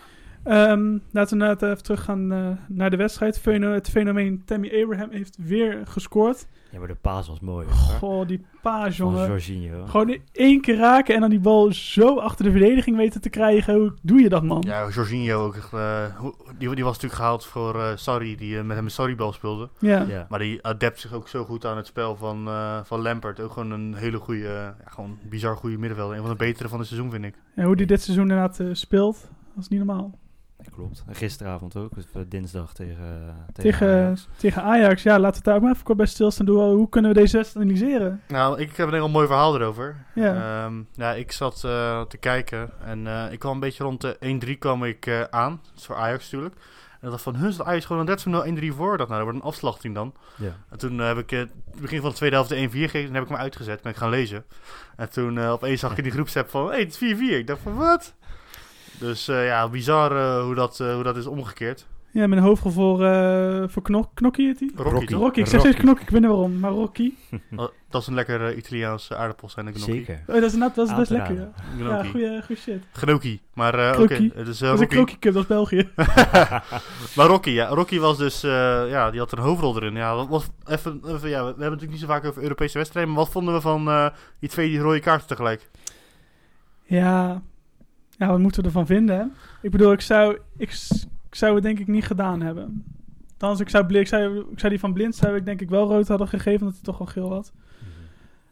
Speaker 2: Ehm, laten we inderdaad even teruggaan eh, naar de wedstrijd. Feno- het fenomeen Tammy Abraham heeft weer gescoord.
Speaker 3: Ja, maar de paas was mooi.
Speaker 2: Goh, die paas,
Speaker 3: Van
Speaker 2: jongen.
Speaker 3: Jorginho.
Speaker 2: Gewoon één keer raken en dan die bal zo achter de verdediging weten te krijgen. Hoe doe je dat, man?
Speaker 4: Ja, Jorginho ook. echt, eh, hoe- die, die was natuurlijk gehaald voor eh Sarri, die eh, met hem een Sarri-bal speelde.
Speaker 2: Ja.
Speaker 3: Ja.
Speaker 4: Maar die adept zich ook zo goed aan het spel van, eh van Lampert. Ook gewoon een hele goede, eh, ja, gewoon bizar goede middenvelder. Een van de betere van het seizoen, vind ik.
Speaker 2: En hoe die dit seizoen inderdaad eh, speelt, dat is niet normaal.
Speaker 3: Ja, Klopt. En Gisteravond ook. dus, eh, Dinsdag tegen, eh, tegen,
Speaker 2: Tegen,
Speaker 3: Ajax.
Speaker 2: tegen Ajax, ja, laten we het daar ook maar even kort bij stilstaan. Hoe, hoe kunnen we deze wedstrijd analyseren?
Speaker 4: Nou, ik heb een heel mooi verhaal erover.
Speaker 2: Ja.
Speaker 4: Ehm, ja ik zat eh, te kijken en eh, ik kwam een beetje rond de 1-3 kwam ik eh, aan. Dat is voor Ajax natuurlijk. En ik dacht van, hun, dat Ajax gewoon een 13-0 1-3 voor. Ik dacht, nou, dat wordt een afslachting dan.
Speaker 3: Ja.
Speaker 4: En toen eh, heb ik eh, het begin van de tweede helft de 1-4 gegeven. Toen heb ik hem uitgezet. Ben ik gaan lezen. En toen eh, opeens zag ik in die groepsapp van... hey, het is 4-4. Ik dacht van, wat? Dus eh, ja, bizar eh, hoe, dat, eh, hoe dat is omgekeerd.
Speaker 2: Ja, met een hoofdrol voor, eh voor knok, Knokkie heet die?
Speaker 4: Rocky,
Speaker 3: Rocky.
Speaker 4: toch?
Speaker 2: Rocky, ik zeg steeds
Speaker 3: Rocky.
Speaker 2: Knokkie, ik weet niet waarom, maar Rocky.
Speaker 4: Oh, dat is een lekker eh, Italiaans eh, aardappel zijn, een gnocchi.
Speaker 3: Zeker.
Speaker 2: Oh, dat is inderdaad, dat is, dat is
Speaker 3: Aan te
Speaker 2: lekker, ja.
Speaker 3: raden.
Speaker 2: Ja,
Speaker 4: Gnocchi.
Speaker 2: goeie, goeie shit.
Speaker 4: Gnocchi. Maar eh, oké,
Speaker 2: Gnocchi.
Speaker 4: het is eh,
Speaker 2: Dat is een
Speaker 4: Rocky.
Speaker 2: Knokkie Cup, dat is België.
Speaker 4: Maar Rocky, ja. Rocky was dus, eh, ja, die had er een hoofdrol erin. Ja, dat was even, even, ja, we we hebben het natuurlijk niet zo vaak over Europese wedstrijden, maar wat vonden we van eh, die twee die rode kaarten tegelijk?
Speaker 2: Ja. ja, wat moeten we ervan vinden, hè? Ik bedoel, ik zou, ik, s- ik zou het denk ik niet gedaan hebben. Althans, ik zou, bli- ik, zou, ik zou die van blind zou ik denk ik wel rood hadden gegeven, omdat hij toch wel geel had.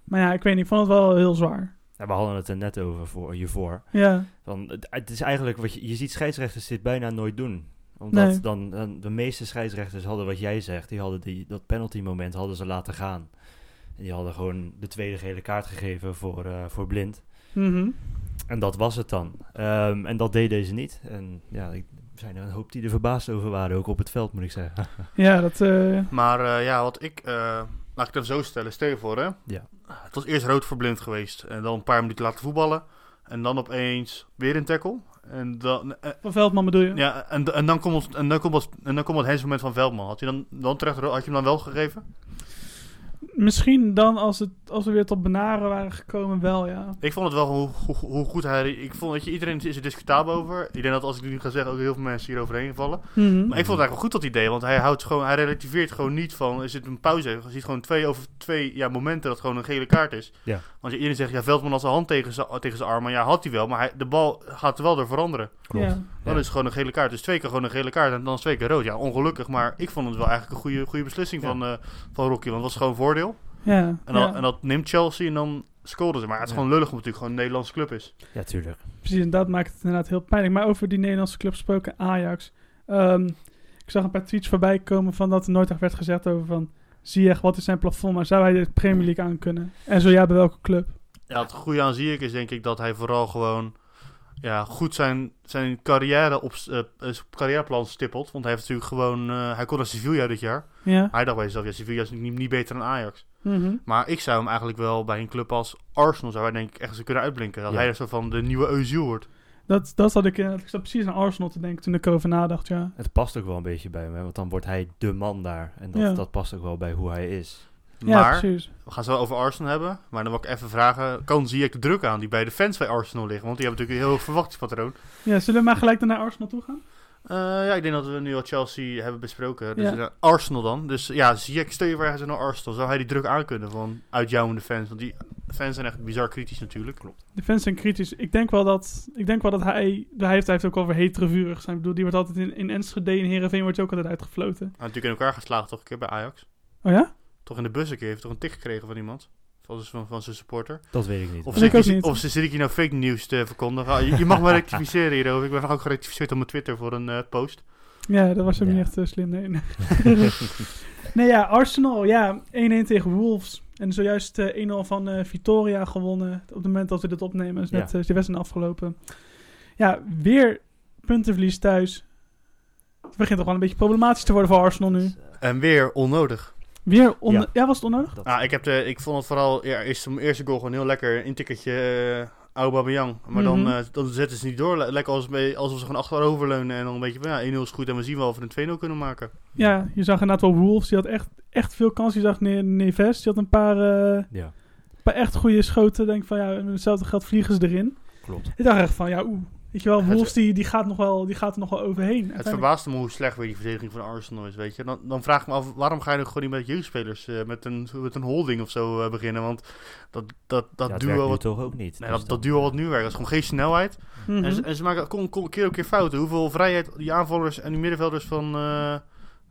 Speaker 2: Maar ja, ik weet niet, ik vond het wel heel zwaar.
Speaker 3: Ja, we hadden het er net over voor, eh, hiervoor.
Speaker 2: Ja,
Speaker 3: Van, het, het is eigenlijk wat je, je ziet scheidsrechters dit bijna nooit doen. Omdat
Speaker 2: Nee.
Speaker 3: dan, dan de meeste scheidsrechters hadden wat jij zegt. Die hadden die, dat penalty moment hadden ze laten gaan. En die hadden gewoon de tweede gele kaart gegeven voor, eh, voor blind.
Speaker 2: Mhm.
Speaker 3: En dat was het dan. Ehm, en dat deed deze niet. En ja, ik, er zijn er een hoop die er verbaasd over waren. Ook op het veld moet ik zeggen.
Speaker 2: ja dat... eh,
Speaker 4: Maar eh, ja, wat ik, eh, laat ik het even zo stellen, stel je voor hè.
Speaker 3: Ja.
Speaker 4: Het was eerst rood voor blind geweest en dan een paar minuten laten voetballen en dan opeens weer een tackle. En dan, eh,
Speaker 2: van Veldman bedoel je?
Speaker 4: ja, en, en dan komt ons- en dan komt ons- en dan komt het hensmoment moment van Veldman. Had je, dan, dan terecht, ro- had je hem dan wel gegeven?
Speaker 2: Misschien dan als, het, als we weer tot benaren waren gekomen, wel ja.
Speaker 4: Ik vond het wel hoe, hoe, hoe goed hij... Ik vond, dat je, iedereen is er discutabel over. Ik denk dat als ik nu ga zeggen, ook heel veel mensen hier overheen vallen.
Speaker 2: Mhm.
Speaker 4: Maar ik vond het eigenlijk wel goed dat idee, want hij, houdt gewoon, hij relativeert gewoon niet van, er zit een pauze. Je ziet gewoon twee over twee ja, momenten dat het gewoon een gele kaart is.
Speaker 3: Ja.
Speaker 4: Want iedereen zegt, ja, Veldman had zijn hand tegen zijn, tegen zijn arm, maar ja, had hij wel. Maar hij, de bal gaat er wel door veranderen.
Speaker 2: Ja.
Speaker 4: Dan
Speaker 3: Ja.
Speaker 4: is het gewoon een gele kaart. Dus twee keer gewoon een gele kaart en dan is twee keer rood. Ja, ongelukkig, maar ik vond het wel eigenlijk een goede, goede beslissing
Speaker 3: Ja.
Speaker 4: van, eh, van Rocky, want het was gewoon voordeel.
Speaker 2: Ja,
Speaker 4: En, dan,
Speaker 2: ja.
Speaker 4: en dat neemt Chelsea en dan scoren ze. Maar het is
Speaker 3: Ja.
Speaker 4: gewoon lullig omdat het natuurlijk gewoon een Nederlandse club is.
Speaker 3: ja, tuurlijk.
Speaker 2: Precies, en dat maakt het inderdaad heel pijnlijk. Maar over die Nederlandse club gesproken, Ajax. Ehm, ik zag een paar tweets voorbij komen van dat er nooit echt werd gezegd over van... Ziyech, wat is zijn plafond, maar zou hij de Premier League aan kunnen? En zo ja, bij welke club?
Speaker 4: Ja, het goede aan Ziyech is denk ik dat hij vooral gewoon ja, goed zijn, zijn carrière op, eh, eh, zijn carrièreplan stippelt. Want hij heeft natuurlijk gewoon... eh, hij kon naar Sevilla dit jaar.
Speaker 2: Ja.
Speaker 4: Hij dacht bij zichzelf, ja, Sevilla is niet, niet beter dan Ajax.
Speaker 2: Mhm.
Speaker 4: Maar ik zou hem eigenlijk wel bij een club als Arsenal... zou hij denk ik echt eens kunnen uitblinken. Dat
Speaker 3: Ja.
Speaker 4: hij er zo van de nieuwe Özil wordt.
Speaker 2: Dat, dat zat ik, inderdaad- ik zat precies aan Arsenal te denken toen ik erover nadacht, ja.
Speaker 3: Het past ook wel een beetje bij hem. hè, Want dan wordt hij de man daar. En dat,
Speaker 2: Ja.
Speaker 3: dat past ook wel bij hoe hij is.
Speaker 2: Ja,
Speaker 4: maar
Speaker 2: precies.
Speaker 4: we gaan het wel over Arsenal hebben. Maar dan wil ik even vragen... kan Ziyech de druk aan die bij de fans bij Arsenal liggen? Want die hebben natuurlijk een heel hoog verwachtingspatroon.
Speaker 2: Ja, zullen we maar gelijk dan naar Arsenal toe gaan?
Speaker 4: Eh, ja, ik denk dat we nu al Chelsea hebben besproken. Dus
Speaker 2: Ja.
Speaker 4: eh, Arsenal dan. Dus ja, Ziyech, stel je voor ergens naar Arsenal. Zou hij die druk aankunnen van uitjouwende fans? Want die fans zijn echt bizar kritisch natuurlijk. Klopt.
Speaker 2: De fans zijn kritisch. Ik denk wel dat, ik denk wel dat hij, hij, heeft, hij heeft ook over hete revuren gestaan. Ik bedoel, die wordt altijd in, in Enschede en Heerenveen wordt hij ook altijd uitgefloten.
Speaker 4: Hij natuurlijk in elkaar geslagen toch een keer bij Ajax.
Speaker 2: Oh ja?
Speaker 4: Toch in de bus een keer. Heeft toch een tik gekregen van iemand? Van, van, van zijn supporter.
Speaker 3: Dat weet ik niet.
Speaker 2: Dat
Speaker 4: Of
Speaker 2: weet
Speaker 4: zit,
Speaker 2: ik ook
Speaker 4: ik-
Speaker 2: niet.
Speaker 4: of zit ik hier nou fake nieuws te verkondigen? Ah, Je, je mag me rectificeren hierover. Ik ben ook gerectificeerd op mijn Twitter voor een eh, post.
Speaker 2: Ja, dat was ook
Speaker 3: Ja.
Speaker 2: niet echt eh, slim. Nee, nee. nee ja, Arsenal, ja, 1-1 tegen Wolves. En zojuist eh, 1-0 van eh, Vitoria gewonnen. Op het moment dat we dit opnemen, is net eh, de wedstrijd afgelopen. Ja, weer puntenverlies thuis. Het begint toch wel een beetje problematisch te worden voor Arsenal nu.
Speaker 4: En weer onnodig.
Speaker 2: Weer on ja.
Speaker 3: Ja.
Speaker 2: was het onnodig?
Speaker 3: Dat-
Speaker 4: Ah, ik, heb de, ik vond het vooral ja, eerst zijn eerste goal gewoon heel lekker. Een intikkertje eh Aubameyang. Maar dan,
Speaker 2: Mhm.
Speaker 4: eh, dan zetten ze niet door. Le- Lekker als, mee- alsof ze gewoon achteroverleunen. En dan een beetje van ja, 1-0 is goed. En we zien wel of we een 2-0 kunnen maken.
Speaker 2: Ja, je zag inderdaad wel Wolves. Die had echt, echt veel kansen. Je zag Ne- Neves. Die had een paar, eh,
Speaker 3: Ja,
Speaker 2: paar echt goede schoten. Denk van ja, met hetzelfde geld vliegen ze erin.
Speaker 3: klopt.
Speaker 2: Ik dacht echt van, ja, oeh. Weet je wel,
Speaker 4: Het-
Speaker 2: Wolves die, die, gaat nog wel, die gaat er nog wel overheen.
Speaker 4: Het
Speaker 2: Uiteindelijk-
Speaker 4: verbaasde me hoe slecht weer die verdediging van Arsenal is. Weet je. Dan, dan vraag ik me af, waarom ga je nog gewoon niet met jeugdspelers, eh, met, een, met een holding of zo eh, beginnen? Want dat, dat, dat,
Speaker 3: Ja, het werkt
Speaker 4: duo,
Speaker 3: nu
Speaker 4: wat,
Speaker 3: toch ook niet.
Speaker 4: nee,
Speaker 3: Dus
Speaker 4: dat,
Speaker 3: dan-
Speaker 4: dat duo wat nu werkt, dat is gewoon geen snelheid.
Speaker 2: Mhm.
Speaker 4: En, ze, en ze maken kon, kon, keer op keer fouten. Hoeveel vrijheid die aanvallers en die middenvelders van, eh,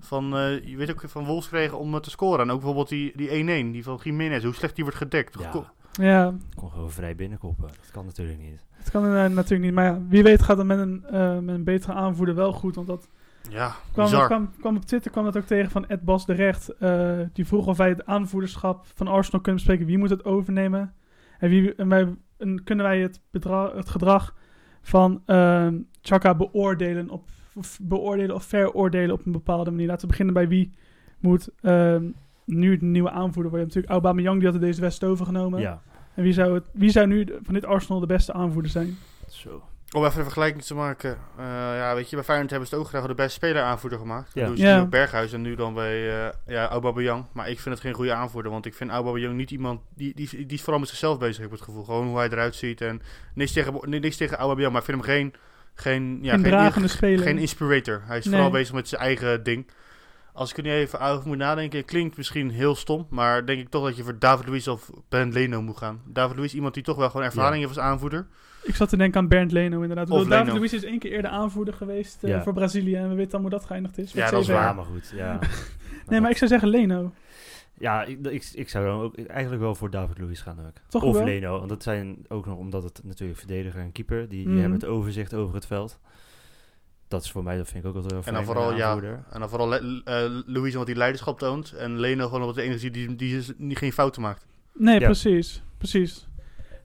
Speaker 4: van eh, je weet ook, van Wolves kregen om eh, te scoren. En ook bijvoorbeeld die, die 1-1, die van Jiménez, hoe slecht die wordt gedekt.
Speaker 3: Ja.
Speaker 4: Ko-
Speaker 2: Ja,
Speaker 3: Ik kon gewoon vrij binnenkoppen. Dat kan natuurlijk niet.
Speaker 2: het kan eh, natuurlijk niet. Maar ja, wie weet gaat het met een, eh, met een betere aanvoerder wel goed. Want dat
Speaker 4: ja
Speaker 2: kwam, dat
Speaker 4: bizar.
Speaker 2: kwam, kwam op Twitter kwam dat ook tegen van Ed Bas de Recht. eh, die vroeg of wij het aanvoerderschap van Arsenal kunnen bespreken. Wie moet het overnemen? En, wie, en, wij, en kunnen wij het, bedra- het gedrag van ehm Chaka beoordelen, op, of beoordelen of veroordelen op een bepaalde manier? Laten we beginnen bij wie moet ehm, nu de nieuwe aanvoerder worden. Natuurlijk Aubameyang die had er deze wedstrijd overgenomen.
Speaker 3: Ja,
Speaker 2: En wie zou, het, wie zou nu de- van dit Arsenal de beste aanvoerder zijn?
Speaker 3: zo.
Speaker 4: Om even een vergelijking te maken. eh, ja, weet je, bij Feyenoord hebben ze het ook graag de beste speler aanvoerder gemaakt.
Speaker 3: Ja.
Speaker 4: Ja. Doen ze
Speaker 2: Ja.
Speaker 4: nu op Berghuis en nu dan bij eh ja, Aubameyang. Maar ik vind het geen goede aanvoerder, want ik vind Aubameyang niet iemand... Die, die, die is vooral met zichzelf bezig, heb ik het gevoel. Gewoon hoe hij eruit ziet en niks tegen, ni- niks tegen Aubameyang. Maar ik vind hem geen... geen, ja,
Speaker 2: een
Speaker 4: geen
Speaker 2: dragende speler.
Speaker 4: geen inspirator. Hij is
Speaker 2: Nee.
Speaker 4: vooral bezig met zijn eigen ding. Als ik er nu even over moet nadenken, klinkt misschien heel stom, maar denk ik toch dat je voor David Luiz of Ben Leno moet gaan. David Luiz, iemand die toch wel gewoon ervaring heeft als aanvoerder.
Speaker 2: Ik zat te denken aan Bernd Leno inderdaad.
Speaker 4: Of
Speaker 2: Of David
Speaker 4: Leno.
Speaker 2: Luiz is één keer eerder aanvoerder geweest eh,
Speaker 3: Ja.
Speaker 2: voor Brazilië. En we weten allemaal hoe dat geëindigd is. met
Speaker 4: Ja, dat is
Speaker 2: zeven.
Speaker 4: waar.
Speaker 3: maar goed. Ja,
Speaker 2: Nee, maar ik zou zeggen Leno.
Speaker 3: ja ik, ik, ik zou dan ook eigenlijk wel voor David Luiz gaan ook.
Speaker 2: Toch
Speaker 3: of
Speaker 2: wel?
Speaker 3: Leno, want dat zijn ook nog, omdat het natuurlijk verdediger en keeper, die, die
Speaker 2: Mhm.
Speaker 3: hebben het overzicht over het veld. Dat is voor mij, dat vind ik ook altijd wel
Speaker 4: En
Speaker 3: fijn
Speaker 4: dan
Speaker 3: bij
Speaker 4: vooral,
Speaker 3: een
Speaker 4: ja,
Speaker 3: aanvoerder.
Speaker 4: en dan vooral Le- eh, Luiz, omdat hij leiderschap toont. En Leno gewoon omdat de energie die, die is, die geen fouten maakt.
Speaker 2: Nee,
Speaker 3: Ja.
Speaker 2: precies. Precies.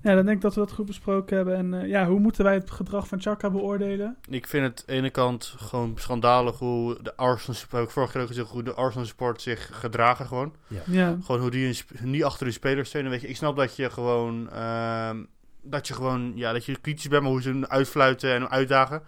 Speaker 2: Ja, dan denk ik dat we dat goed besproken hebben. En eh, ja, hoe moeten wij het gedrag van Chaka beoordelen?
Speaker 4: Ik vind het aan de ene kant gewoon schandalig hoe de Arsenal, heb ik vorige keer ook gezegd, hoe de Arsenal support zich gedragen gewoon.
Speaker 2: Ja,
Speaker 4: Gewoon hoe die een sp- niet achter de spelers steunen. Weet je, ik snap dat je gewoon. ehm, dat je gewoon. Ja, dat je kritisch bent, maar hoe ze hem uitfluiten en hem uitdagen.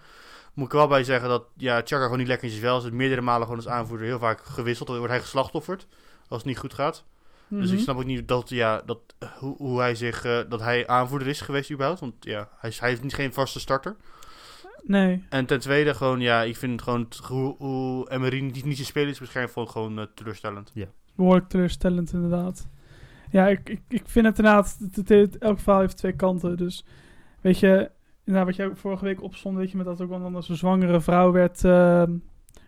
Speaker 4: Moet ik er wel bij zeggen dat. Ja, Chaka gewoon niet lekker in zijn vel zit. Meerdere malen gewoon als aanvoerder heel vaak gewisseld. Dan wordt hij geslachtofferd. Als het niet goed gaat. Dus ik
Speaker 2: Mhm.
Speaker 4: snap ook niet dat. Ja, dat hoe, hoe hij zich. eh, dat hij aanvoerder is geweest, überhaupt. Want ja, hij, is- hij heeft niet geen vaste starter.
Speaker 2: Nee.
Speaker 4: En ten tweede, gewoon. Ja, ik vind het gewoon. t- Hoe, hoe Emery niet, niet zijn speler is, waarschijnlijk vond ik gewoon eh, teleurstellend.
Speaker 2: behoorlijk teleurstellend inderdaad. Ja, ik, ik, ik vind het inderdaad, het, het- het- elk verhaal heeft twee kanten. Dus weet je, inderdaad wat jij ook vorige week opstond, weet je, met dat ook omdat zo'n zwangere vrouw werd, ehm,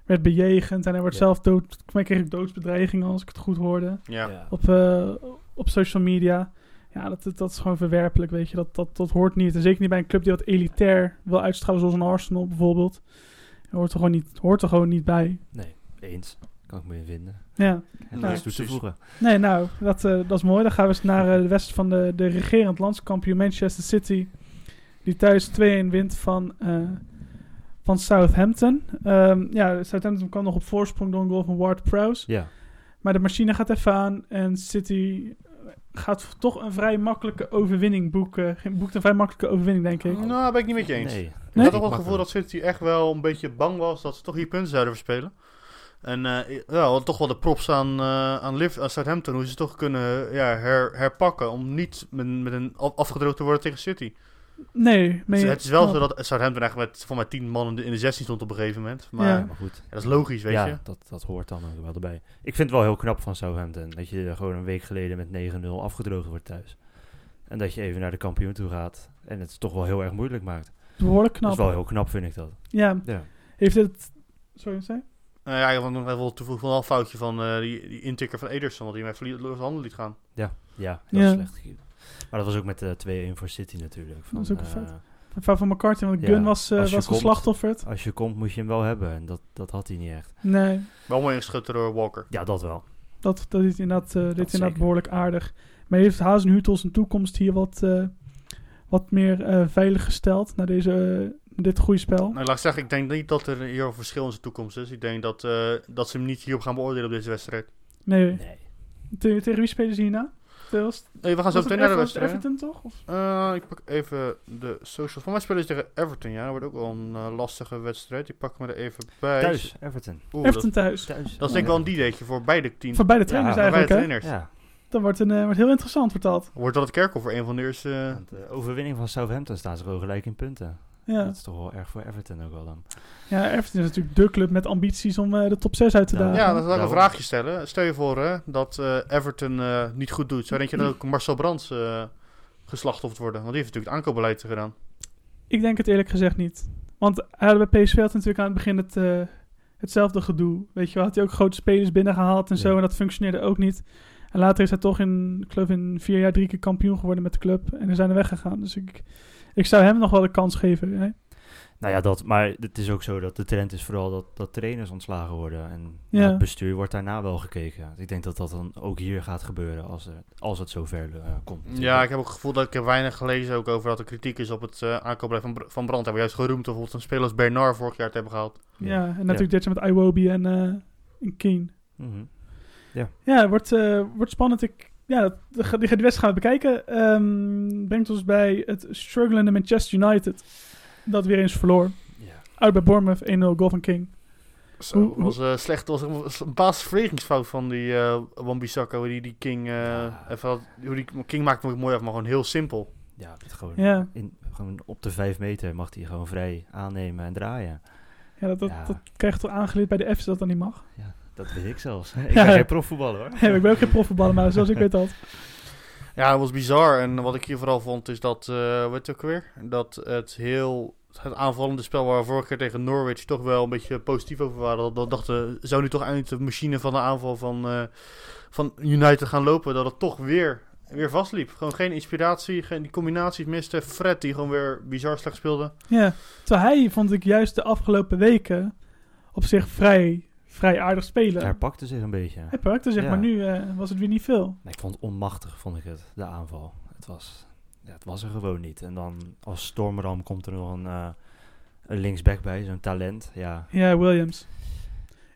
Speaker 2: werd bejegend en hij wordt
Speaker 3: Ja.
Speaker 2: zelf dood. Volgens mij kreeg ik doodsbedreigingen als ik het goed hoorde
Speaker 4: Ja.
Speaker 3: Ja.
Speaker 2: op, eh, op social media. Ja, dat, dat- dat is gewoon verwerpelijk, weet je. Dat, dat, dat hoort niet. En zeker niet bij een club die wat elitair wil uitstralen, zoals een Arsenal bijvoorbeeld. Dat hoort er gewoon niet, hoort er gewoon niet bij.
Speaker 3: Nee, eens. Kan ik me in vinden.
Speaker 2: Ja.
Speaker 3: En
Speaker 4: Ja,
Speaker 3: dat is toe te
Speaker 4: precies.
Speaker 3: voegen.
Speaker 2: Nee, nou, dat, eh, dat is mooi. Dan gaan we eens naar eh, de wedstrijd van de, de regerend landskampioen Manchester City. Die thuis 2-1 wint van, eh, van Southampton. Ehm, ja, Southampton kwam nog op voorsprong door een goal van Ward Prowse.
Speaker 3: Ja,
Speaker 2: Maar de machine gaat even aan en City eh, gaat toch een vrij makkelijke overwinning boeken. Geen- Boekt een vrij makkelijke overwinning, denk ik.
Speaker 4: Nou, ben ik niet met je eens.
Speaker 3: nee.
Speaker 2: Nee?
Speaker 4: Ik had
Speaker 3: Ik
Speaker 4: toch
Speaker 3: mag
Speaker 4: wel het gevoel
Speaker 3: wel.
Speaker 4: dat City echt wel een beetje bang was dat ze toch hier punten zouden verspelen. En eh, ja, we hadden toch wel de props aan, eh aan, Liv- aan Southampton, hoe ze toch kunnen ja, her- herpakken om niet met, met een af- afgedroogd te worden tegen City.
Speaker 2: Nee, meen
Speaker 4: Dus
Speaker 2: je-
Speaker 4: het is wel
Speaker 2: Oh,
Speaker 4: zo dat Southampton eigenlijk met voor mij 10 man in de, in de 16 stond op een gegeven moment. Maar
Speaker 2: Ja.
Speaker 4: ja,
Speaker 3: Maar goed,
Speaker 4: dat is logisch, weet
Speaker 3: ja,
Speaker 4: je.
Speaker 3: Dat, dat hoort dan ook wel erbij. Ik vind het wel heel knap van Southampton. Dat je gewoon een week geleden met 9-0 afgedroogd wordt thuis. En dat je even naar de kampioen toe gaat. En het toch wel heel erg moeilijk maakt.
Speaker 2: behoorlijk
Speaker 3: Dat
Speaker 2: knap.
Speaker 3: is wel heel knap, vind ik dat.
Speaker 2: Ja,
Speaker 3: Ja.
Speaker 2: heeft het... Sorry, zei je?
Speaker 4: Nou ja, ik wil nog even toevoegen van een foutje van eh, die, die intikker van Ederson, dat hij hem even li- door zijn handen liet gaan.
Speaker 3: Ja, heel
Speaker 2: Ja.
Speaker 3: slecht. Maar dat was ook met eh 2-1 voor City natuurlijk. Van,
Speaker 2: Dat is ook een
Speaker 3: eh,
Speaker 2: feit. Een fout van McCarthy, want
Speaker 3: Ja,
Speaker 2: Gun was, eh,
Speaker 3: als je
Speaker 2: was
Speaker 3: komt.
Speaker 2: geslachtofferd.
Speaker 3: als je komt, moet je hem wel hebben. En dat, dat had hij niet echt.
Speaker 2: Nee,
Speaker 4: Wel mooi ingeschoten door Walker.
Speaker 3: Ja, dat wel.
Speaker 2: dat, dat is inderdaad, eh, dit is
Speaker 3: zeker.
Speaker 2: inderdaad behoorlijk aardig. Maar heeft Hazenhutel zijn toekomst hier wat, eh, wat meer eh, veilig gesteld na deze, eh, dit goede spel?
Speaker 4: Nou, laat ik zeggen, ik denk niet dat er hier een verschil in zijn toekomst is. Ik denk dat, eh, dat ze hem niet hierop gaan beoordelen op deze wedstrijd.
Speaker 2: Nee.
Speaker 3: Nee.
Speaker 2: Te- tegen wie spelen ze hierna? Tegen-
Speaker 4: Hey, we gaan zo
Speaker 2: was het
Speaker 4: meteen naar de
Speaker 2: Everton-
Speaker 4: wedstrijd.
Speaker 2: Everton toch? Of?
Speaker 4: Eh, ik pak even de socials. Van mij spelen ze tegen Everton, ja. Dat wordt ook wel een eh, lastige wedstrijd. Ik pak me er even bij.
Speaker 3: Thuis, Everton.
Speaker 4: Oeh, dat,
Speaker 2: Everton thuis.
Speaker 3: Thuis.
Speaker 4: dat is denk ik wel een dineetje voor beide teams.
Speaker 2: Voor beide trainers
Speaker 3: Ja,
Speaker 4: voor beide
Speaker 2: eigenlijk, hè?
Speaker 4: trainers.
Speaker 3: Ja.
Speaker 2: Dat wordt, een, eh, wordt heel interessant, wordt dat.
Speaker 4: Wordt dat het kerkhof voor een van de eerste... eh,
Speaker 3: Want de overwinning van Southampton staan ze gewoon gelijk in punten.
Speaker 2: Ja.
Speaker 3: Dat is toch wel erg voor Everton ook wel dan.
Speaker 2: ja, Everton is natuurlijk de club met ambities om eh, de top 6 uit te
Speaker 3: Ja.
Speaker 2: dagen.
Speaker 4: ja, dan zal ik een
Speaker 3: Daarom.
Speaker 4: vraagje stellen. Stel je voor hè, dat eh, Everton eh, niet goed doet. Zou denk je dat ook Marcel Brands eh, geslachtofferd worden? Want die heeft natuurlijk het aankoopbeleid gedaan.
Speaker 2: Ik denk het eerlijk gezegd niet. Want hij had bij PSV had natuurlijk aan het begin het, eh, hetzelfde gedoe. Weet je wel, had hij ook grote spelers binnengehaald en zo.
Speaker 3: Ja.
Speaker 2: En dat functioneerde ook niet. En later is hij toch in, ik geloof in vier jaar drie keer kampioen geworden met de club. En er zijn er weggegaan. Dus ik, ik zou hem nog wel de kans geven. Hè?
Speaker 3: Nou ja, dat, maar het is ook zo dat de trend is vooral dat, dat trainers ontslagen worden. En
Speaker 2: Ja.
Speaker 3: naar het bestuur wordt daarna wel gekeken. Ik denk dat dat dan ook hier gaat gebeuren als, er, als het zover eh, komt.
Speaker 4: Ja, ik heb ook het gevoel dat ik er weinig gelezen ook over dat er kritiek is op het eh aankoopbeleid van, Br- van Brandt. Hij wordt juist geroemd of bijvoorbeeld een speler als Bernard vorig jaar te hebben gehaald.
Speaker 2: Ja. en natuurlijk dit jaar met Iwobi en, eh en Keane.
Speaker 3: Mhm.
Speaker 2: Ja, het wordt, eh, wordt spannend. Ik, ja, dat, die ga- die wedstrijd gaan we bekijken. Ehm, brengt ons bij het strugglende Manchester United. dat weer eens verloor.
Speaker 3: Ja.
Speaker 2: Uit bij Bournemouth, 1-0, goal van King.
Speaker 4: Zo,
Speaker 2: Hoe- hoe-
Speaker 4: was, eh, slecht, was een basisverigingsfout van die eh Wan-Bissaka, hoe die, die King... eh,
Speaker 3: Ja.
Speaker 4: even had- hoe die King maakt het mooi af, maar gewoon heel simpel.
Speaker 3: Ja, het gewoon,
Speaker 2: Ja.
Speaker 3: in, gewoon op de vijf meter mag hij gewoon vrij aannemen en draaien.
Speaker 2: Ja, dat, dat,
Speaker 3: Ja.
Speaker 2: dat krijg je toch aangeleerd bij de F's dat dat niet mag.
Speaker 3: Dat weet ik zelfs. ik
Speaker 2: Ja.
Speaker 3: ga geen profvoetballer hoor.
Speaker 2: Nee, maar ik ben ook geen profvoetballer, maar zoals ik weet dat.
Speaker 4: Ja, het was bizar. En wat ik hier vooral vond is dat, eh weet je ook weer, dat het heel het aanvallende spel waar we vorige keer tegen Norwich toch wel een beetje positief over waren. Dat, dat dachten, zou nu toch eindelijk de machine van de aanval van, eh, van United gaan lopen? Dat het toch weer, weer vastliep. Gewoon geen inspiratie, geen, die combinaties miste. Fred die gewoon weer bizar slecht speelde.
Speaker 2: Ja, terwijl hij vond ik juist de afgelopen weken op zich vrij, vrij aardig spelen.
Speaker 3: Hij pakte zich een beetje.
Speaker 2: Hij pakte zeg
Speaker 3: Ja.
Speaker 2: maar nu eh, was het weer niet veel.
Speaker 3: Maar ik vond het onmachtig, vond ik het, de aanval. Het was, ja, het was er gewoon niet. En dan als stormram komt er nog een, eh, een linksback bij, zo'n talent. Ja,
Speaker 2: Ja, Williams.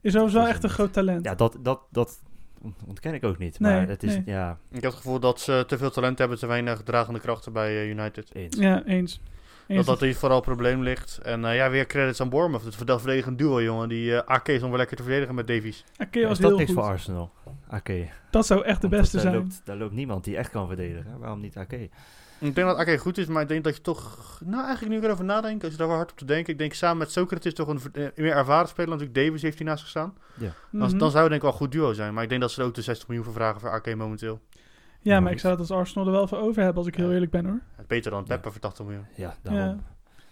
Speaker 2: Is overigens wel
Speaker 3: is
Speaker 2: echt een
Speaker 3: hem
Speaker 2: groot talent.
Speaker 3: ja dat, dat, dat ont- ontken ik ook niet.
Speaker 2: Nee,
Speaker 3: maar het is,
Speaker 2: nee.
Speaker 3: ja,
Speaker 4: Ik heb het gevoel dat ze te veel talent hebben, te weinig dragende krachten bij eh, United.
Speaker 3: eens.
Speaker 2: Ja, eens. eens.
Speaker 4: Dat dat hier vooral het probleem ligt. En eh, ja, weer credits aan Bournemouth. Het verd- verdedigend duo, jongen. Die eh AK is om weer lekker te verdedigen met Davies.
Speaker 2: Ake
Speaker 3: Ja,
Speaker 2: was
Speaker 3: is dat
Speaker 2: heel
Speaker 3: niks
Speaker 2: goed.
Speaker 3: voor Arsenal? Oké.
Speaker 2: Dat zou echt de beste
Speaker 3: daar
Speaker 2: zijn.
Speaker 3: eh, Loopt, daar loopt niemand die echt kan verdedigen. Waarom niet? Oké.
Speaker 4: Ik denk dat AK goed is, maar ik denk dat je toch... Nou, eigenlijk nu weer over nadenken. Als je daar wel hard op te denken. Ik denk samen met Socrates toch een ver- eh, meer ervaren speler. Natuurlijk Davies heeft hier naast gestaan. Dan,
Speaker 2: Mhm.
Speaker 4: dan zou het denk ik wel een goed duo zijn. Maar ik denk dat ze er ook de 60 miljoen voor vragen voor AK momenteel.
Speaker 2: Ja, maar ik zou het als Arsenal er wel voor over hebben, als ik heel
Speaker 4: Ja.
Speaker 2: eerlijk ben hoor.
Speaker 4: Beter dan Pepper voor 80 miljoen.
Speaker 3: Ja, daarom.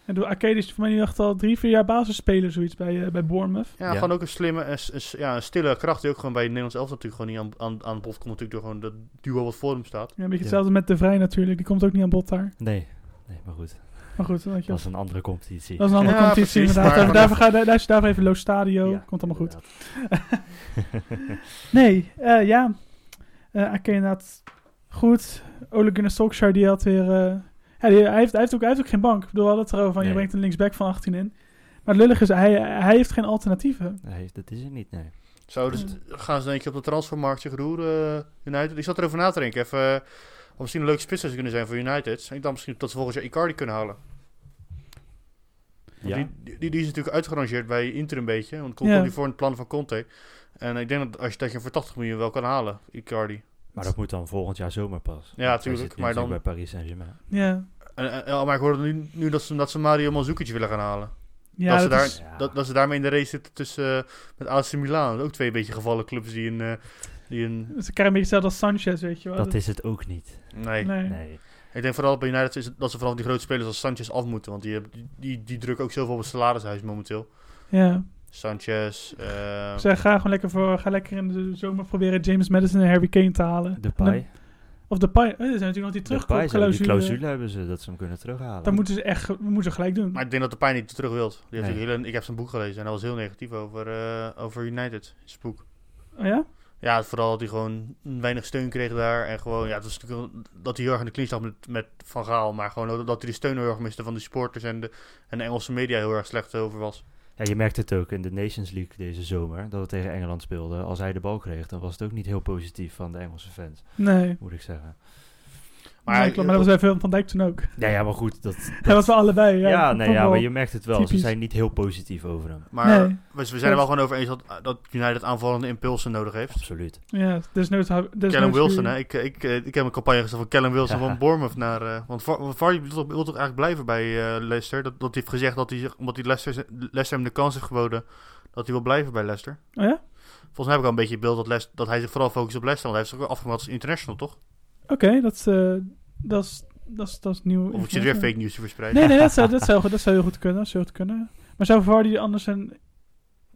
Speaker 2: En doe Ake is voor mij nu echt al drie, vier jaar basisspeler, zoiets bij, eh, bij Bournemouth.
Speaker 4: Ja,
Speaker 3: Ja.
Speaker 4: gewoon ook een slimme, een, s- een s- ja, een stille kracht die ook gewoon bij het Nederlands elftal natuurlijk gewoon niet aan, aan, aan bod komt. Natuurlijk door gewoon dat duo wat voor hem staat.
Speaker 2: Ja, een beetje
Speaker 3: Ja.
Speaker 2: hetzelfde met De Vrij natuurlijk, die komt ook niet aan bod daar.
Speaker 3: Nee. Nee, maar goed.
Speaker 2: Maar goed, dan weet je,
Speaker 3: Dat is een andere competitie.
Speaker 2: dat is een andere
Speaker 4: Ja,
Speaker 2: competitie
Speaker 4: precies,
Speaker 2: inderdaad.
Speaker 4: maar-
Speaker 2: Daarvoor- daarvoor ga daar luister daarvoor even Lo Stadio,
Speaker 3: Ja,
Speaker 2: komt allemaal goed.
Speaker 3: inderdaad.
Speaker 2: Nee, eh, ja. Eh Ake inderdaad goed. Ole Gunnar Solskjaer, die had weer... eh, ja, die- hij, heeft, hij, heeft ook, hij heeft ook geen bank. Ik bedoel, we hadden het erover van, je
Speaker 3: Nee.
Speaker 2: brengt een linksback van 18 in. Maar het lullig is, hij, hij heeft geen alternatieven.
Speaker 3: Nee, dat is het niet, nee.
Speaker 4: Zou dus,
Speaker 2: Mm.
Speaker 4: gaan ze denk je op de transfermarkt zich roeren, eh, United? Ik zat erover na te denken. Even, eh, wat misschien een leuke spits zou kunnen zijn voor United. En ik dacht misschien dat ze volgend jaar Icardi kunnen halen.
Speaker 3: Ja.
Speaker 4: Want Die, die, die is natuurlijk uitgerangeerd bij Inter een beetje. Want komt
Speaker 2: Ja.
Speaker 4: die voor in het plan van Conte. En ik denk dat als je dat je voor 80 miljoen wel kan halen, Icardi.
Speaker 3: Maar dat moet dan volgend jaar zomer pas. Want
Speaker 4: Ja,
Speaker 3: hij
Speaker 4: tuurlijk,
Speaker 3: zit nu
Speaker 4: maar
Speaker 3: natuurlijk
Speaker 4: dan-
Speaker 3: bij Paris Saint-Germain.
Speaker 2: Ja,
Speaker 4: En, en- en- maar ik hoorde nu, nu dat, ze, dat ze Mario Mandzukic willen gaan halen.
Speaker 2: ja
Speaker 4: dat, ze
Speaker 2: dat
Speaker 4: daar,
Speaker 2: is-
Speaker 3: Ja.
Speaker 4: dat, dat ze daarmee in de race zitten tussen eh, met AC Milan. Ook twee beetje gevallen clubs die een... eh, die een
Speaker 2: ze krijgen een beetje hetzelfde als Sanchez, weet je wel.
Speaker 3: Dat is het ook niet.
Speaker 4: nee.
Speaker 2: Nee.
Speaker 3: Nee.
Speaker 4: Ik denk vooral bij United is het- dat ze vooral die grote spelers als Sanchez af moeten. Want die, heb- die, die, die drukken ook zoveel op het salarishuis momenteel.
Speaker 2: Ja.
Speaker 4: Sanchez. eh,
Speaker 2: Ze ga gewoon lekker voor... Ga lekker in de zomer proberen James Madison en Harry Kane te halen.
Speaker 3: De
Speaker 2: En
Speaker 3: paai.
Speaker 2: dan- Of de Pai. eh, er zijn natuurlijk nog die
Speaker 3: De paai
Speaker 2: terugkomen.
Speaker 3: zou die clausule hebben ze, dat ze hem kunnen terughalen.
Speaker 2: Dat moeten ze echt we moeten ze gelijk doen.
Speaker 4: maar ik denk dat de pijn niet terug wilt. Die heeft
Speaker 3: Nee.
Speaker 4: ook heel, ik heb zijn boek gelezen en hij was heel negatief over, eh, over United. Zijn boek.
Speaker 2: Oh ja?
Speaker 4: Ja, vooral dat hij gewoon weinig steun kreeg daar. En gewoon, ja, het was natuurlijk wel- dat hij heel erg in de clinch lag met, met Van Gaal. Maar gewoon dat, dat hij de steun heel erg miste van de supporters en de, en de Engelse media heel erg slecht over was.
Speaker 3: Ja, je merkt het ook in de Nations League deze zomer, dat we tegen Engeland speelden. Als hij de bal kreeg, dan was het ook niet heel positief van de Engelse fans,
Speaker 2: Nee.
Speaker 3: moet ik zeggen.
Speaker 4: Maar
Speaker 2: Maar,
Speaker 4: hij-
Speaker 2: maar dat was bij Van- Van Dijk toen ook.
Speaker 3: Ja, ja maar goed, dat... dat-
Speaker 2: Hij was wel allebei. Ja,
Speaker 3: ja, nee, ja,
Speaker 2: voetbal.
Speaker 3: maar je merkt het wel. Ze
Speaker 2: typisch.
Speaker 3: zijn niet heel positief over hem.
Speaker 4: Maar
Speaker 2: Nee.
Speaker 4: we, we zijn er wel gewoon over eens dat, dat United aanvallende impulsen nodig heeft.
Speaker 3: Absoluut.
Speaker 2: Ja, dus nooit. Dus
Speaker 4: Callum Wilson, hè? Ik, ik, eh, ik heb een campagne gezet van Callum Wilson
Speaker 3: Ja.
Speaker 4: van Bournemouth naar... eh, want Var- want Vardy wil toch, wil toch eigenlijk blijven bij eh, Leicester? Dat, dat hij heeft gezegd dat hij, zich- omdat hij Leicester, Leicester hem de kans heeft geboden... dat hij wil blijven bij Leicester.
Speaker 2: Oh ja?
Speaker 4: Volgens mij heb ik al een beetje het beeld dat, Leicester- dat hij zich vooral focust op Leicester. Want hij heeft zich ook wel afgemaakt als international, toch?
Speaker 2: Oké, dat is, eh, dat is. Dat is, dat is nieuw.
Speaker 4: Of ik zit weer fake news te verspreiden.
Speaker 2: Nee, nee, dat zou, dat zou, goed- dat zou heel goed kunnen. Dat zou heel goed kunnen. Maar zou Vardy anders een.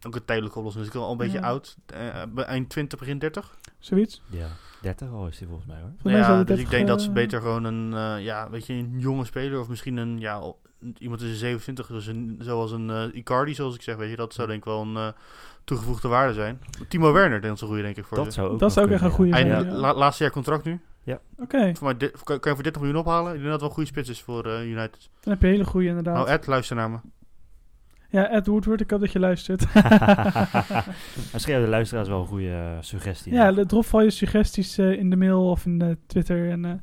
Speaker 4: Ook een tijdelijke oplossing. Dus ik ben al een beetje
Speaker 2: Ja.
Speaker 4: oud. Eh, eh, eind 20, begin 30.
Speaker 2: zoiets?
Speaker 3: Ja, 30 al is hij volgens mij hoor.
Speaker 2: Volgens mij
Speaker 4: Nou
Speaker 2: zou
Speaker 4: ja,
Speaker 2: hij
Speaker 4: dus
Speaker 2: 30,
Speaker 4: ik denk dat ze
Speaker 2: eh,
Speaker 4: beter gewoon een, eh, ja, weet je, een jonge speler... of misschien een, ja, o- iemand tussen 27, dus een, zoals een eh, Icardi, zoals ik zeg. Weet je, dat zou denk ik wel een eh, toegevoegde waarde zijn. Timo Werner, denk ik, dat is een goede, denk ik, voor
Speaker 3: Dat
Speaker 4: dat
Speaker 3: zou ook
Speaker 2: Dat
Speaker 3: nog
Speaker 2: zou ook echt een
Speaker 3: kunnen,
Speaker 2: goede
Speaker 4: Eind,
Speaker 2: zijn.
Speaker 3: ja.
Speaker 2: ja.
Speaker 4: la- laatste jaar contract nu.
Speaker 2: Oké,
Speaker 4: Voor mij di- kan kan je voor 30 miljoen ophalen. Ik denk dat het wel een goede spits is voor eh, United.
Speaker 2: dan heb je een hele goede inderdaad.
Speaker 4: Nou, Ed, luister naar me.
Speaker 2: ja, Ed Woodward, ik hoop dat je luistert.
Speaker 3: Misschien hebben de luisteraars wel een goede eh, suggestie.
Speaker 2: ja, de- drop van je suggesties eh, in de mail of in eh, Twitter. En, eh,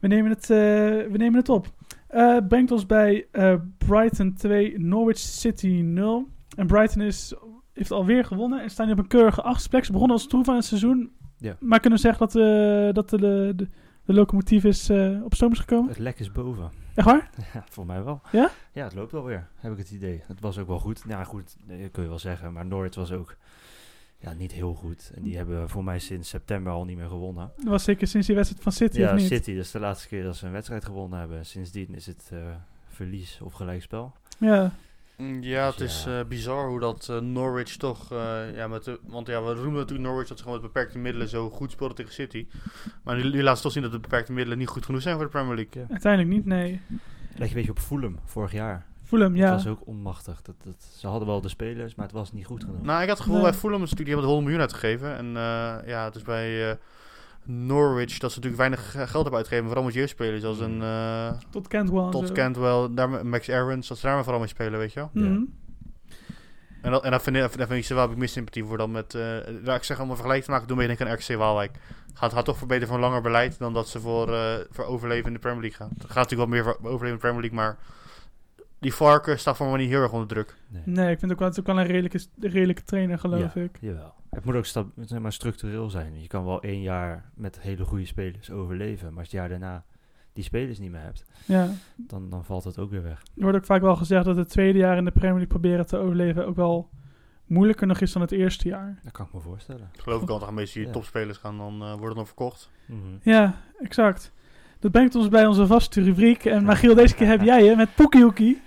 Speaker 2: we, nemen het, eh, we nemen het op. Eh, brengt ons bij eh, Brighton 2, Norwich City 0. En Brighton is, heeft alweer gewonnen en staan nu op een keurige achtste plek. Ze begonnen als troef aan het seizoen.
Speaker 3: Ja.
Speaker 2: Maar kunnen we zeggen dat, eh, dat de, de, de, locomotief is eh, op stoom is gekomen?
Speaker 3: Het lek is boven.
Speaker 2: Echt waar?
Speaker 3: Ja, voor mij wel.
Speaker 2: Ja?
Speaker 3: Ja, het loopt alweer, heb ik het idee. Het was ook wel goed. Nou ja, goed, eh, kun je wel zeggen. Maar Norwich was ook ja, niet heel goed. En die
Speaker 2: Mm.
Speaker 3: hebben voor mij sinds september al niet meer gewonnen.
Speaker 2: Dat was zeker sinds die wedstrijd van City,
Speaker 3: ja,
Speaker 2: of niet?
Speaker 3: City, dat is de laatste keer dat ze een wedstrijd gewonnen hebben. Sindsdien is het eh, verlies of gelijkspel.
Speaker 2: Ja.
Speaker 4: Mm, Ja, het
Speaker 3: Dus
Speaker 4: is
Speaker 3: ja.
Speaker 4: eh, bizar hoe dat eh, Norwich toch... eh, ja, met de, want ja, we roemen natuurlijk Norwich dat ze gewoon met beperkte middelen zo goed speelden tegen City. Maar nu, nu laat ze toch zien dat de beperkte middelen niet goed genoeg zijn voor de Premier League.
Speaker 2: Uiteindelijk niet, nee.
Speaker 3: Leg je een beetje op Fulham vorig jaar.
Speaker 2: Fulham,
Speaker 3: Het
Speaker 2: ja.
Speaker 3: was ook onmachtig. Dat, dat, ze hadden wel de spelers, maar het was niet goed genoeg.
Speaker 4: Nou, ik had het gevoel
Speaker 2: Nee.
Speaker 4: bij Fulham is natuurlijk die hebben de 100 miljoen uitgegeven. En eh, ja, het is bij eh, Norwich dat ze natuurlijk weinig eh, geld hebben uitgegeven. Vooral met jeugdspelers als een eh
Speaker 2: Tot Cantwell. en
Speaker 4: Todd
Speaker 2: zo.
Speaker 4: Cantwell, daar, Max Aarons. Dat ze daar maar vooral mee spelen, weet je wel.
Speaker 2: Mhm.
Speaker 3: Ja.
Speaker 4: En, dat, en dat, vind ik, dat vind ik, wel heb ik meer sympathie voor dan met... eh nou, ik zeg, om een vergelijk te maken, doe me denk aan RC Waalwijk. Gaat, gaat toch voor beter voor een langer beleid dan dat ze voor, eh, voor overleven in de Premier League gaan. Het gaat natuurlijk wel meer voor overleven in de Premier League, maar... Die Varken staat voor mij niet heel erg onder druk.
Speaker 2: Nee, ik vind ook wel, het is ook wel een redelijke, redelijke trainer, geloof ik.
Speaker 3: Jawel. Het moet ook sta- zeg maar, structureel zijn. Je kan wel één jaar met hele goede spelers overleven. Maar als het jaar daarna die spelers niet meer hebt,
Speaker 2: Ja.
Speaker 3: dan, dan valt het ook weer weg.
Speaker 2: Er wordt ook vaak wel gezegd dat het tweede jaar in de Premier League proberen te overleven ook wel moeilijker nog is dan het eerste jaar.
Speaker 3: Dat kan ik me voorstellen.
Speaker 4: Geloof ik al, dan meestal die
Speaker 3: Ja.
Speaker 4: topspelers gaan dan eh, worden dan verkocht.
Speaker 3: Mhm.
Speaker 2: Ja, exact. Dat brengt ons bij onze vaste rubriek. En maar Giel, deze keer heb jij je met Poekiehoekie.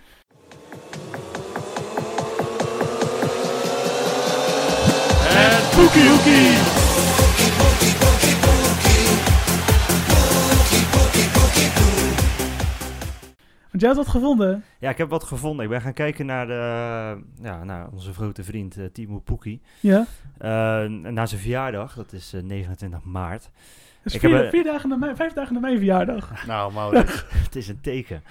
Speaker 4: En Poekie
Speaker 2: Want jij had wat gevonden.
Speaker 3: Ja, ik heb wat gevonden. Ik ben gaan kijken naar, de, ja, naar onze grote vriend eh, Timo Poekie.
Speaker 2: Ja.
Speaker 3: Eh, en naar zijn verjaardag, dat is eh, 29 maart.
Speaker 2: Dus
Speaker 3: Ik
Speaker 2: vier,
Speaker 3: heb, eh,
Speaker 2: vier dagen na mijn, vijf dagen na mijn verjaardag.
Speaker 4: Nou, Maurits.
Speaker 3: het is een teken.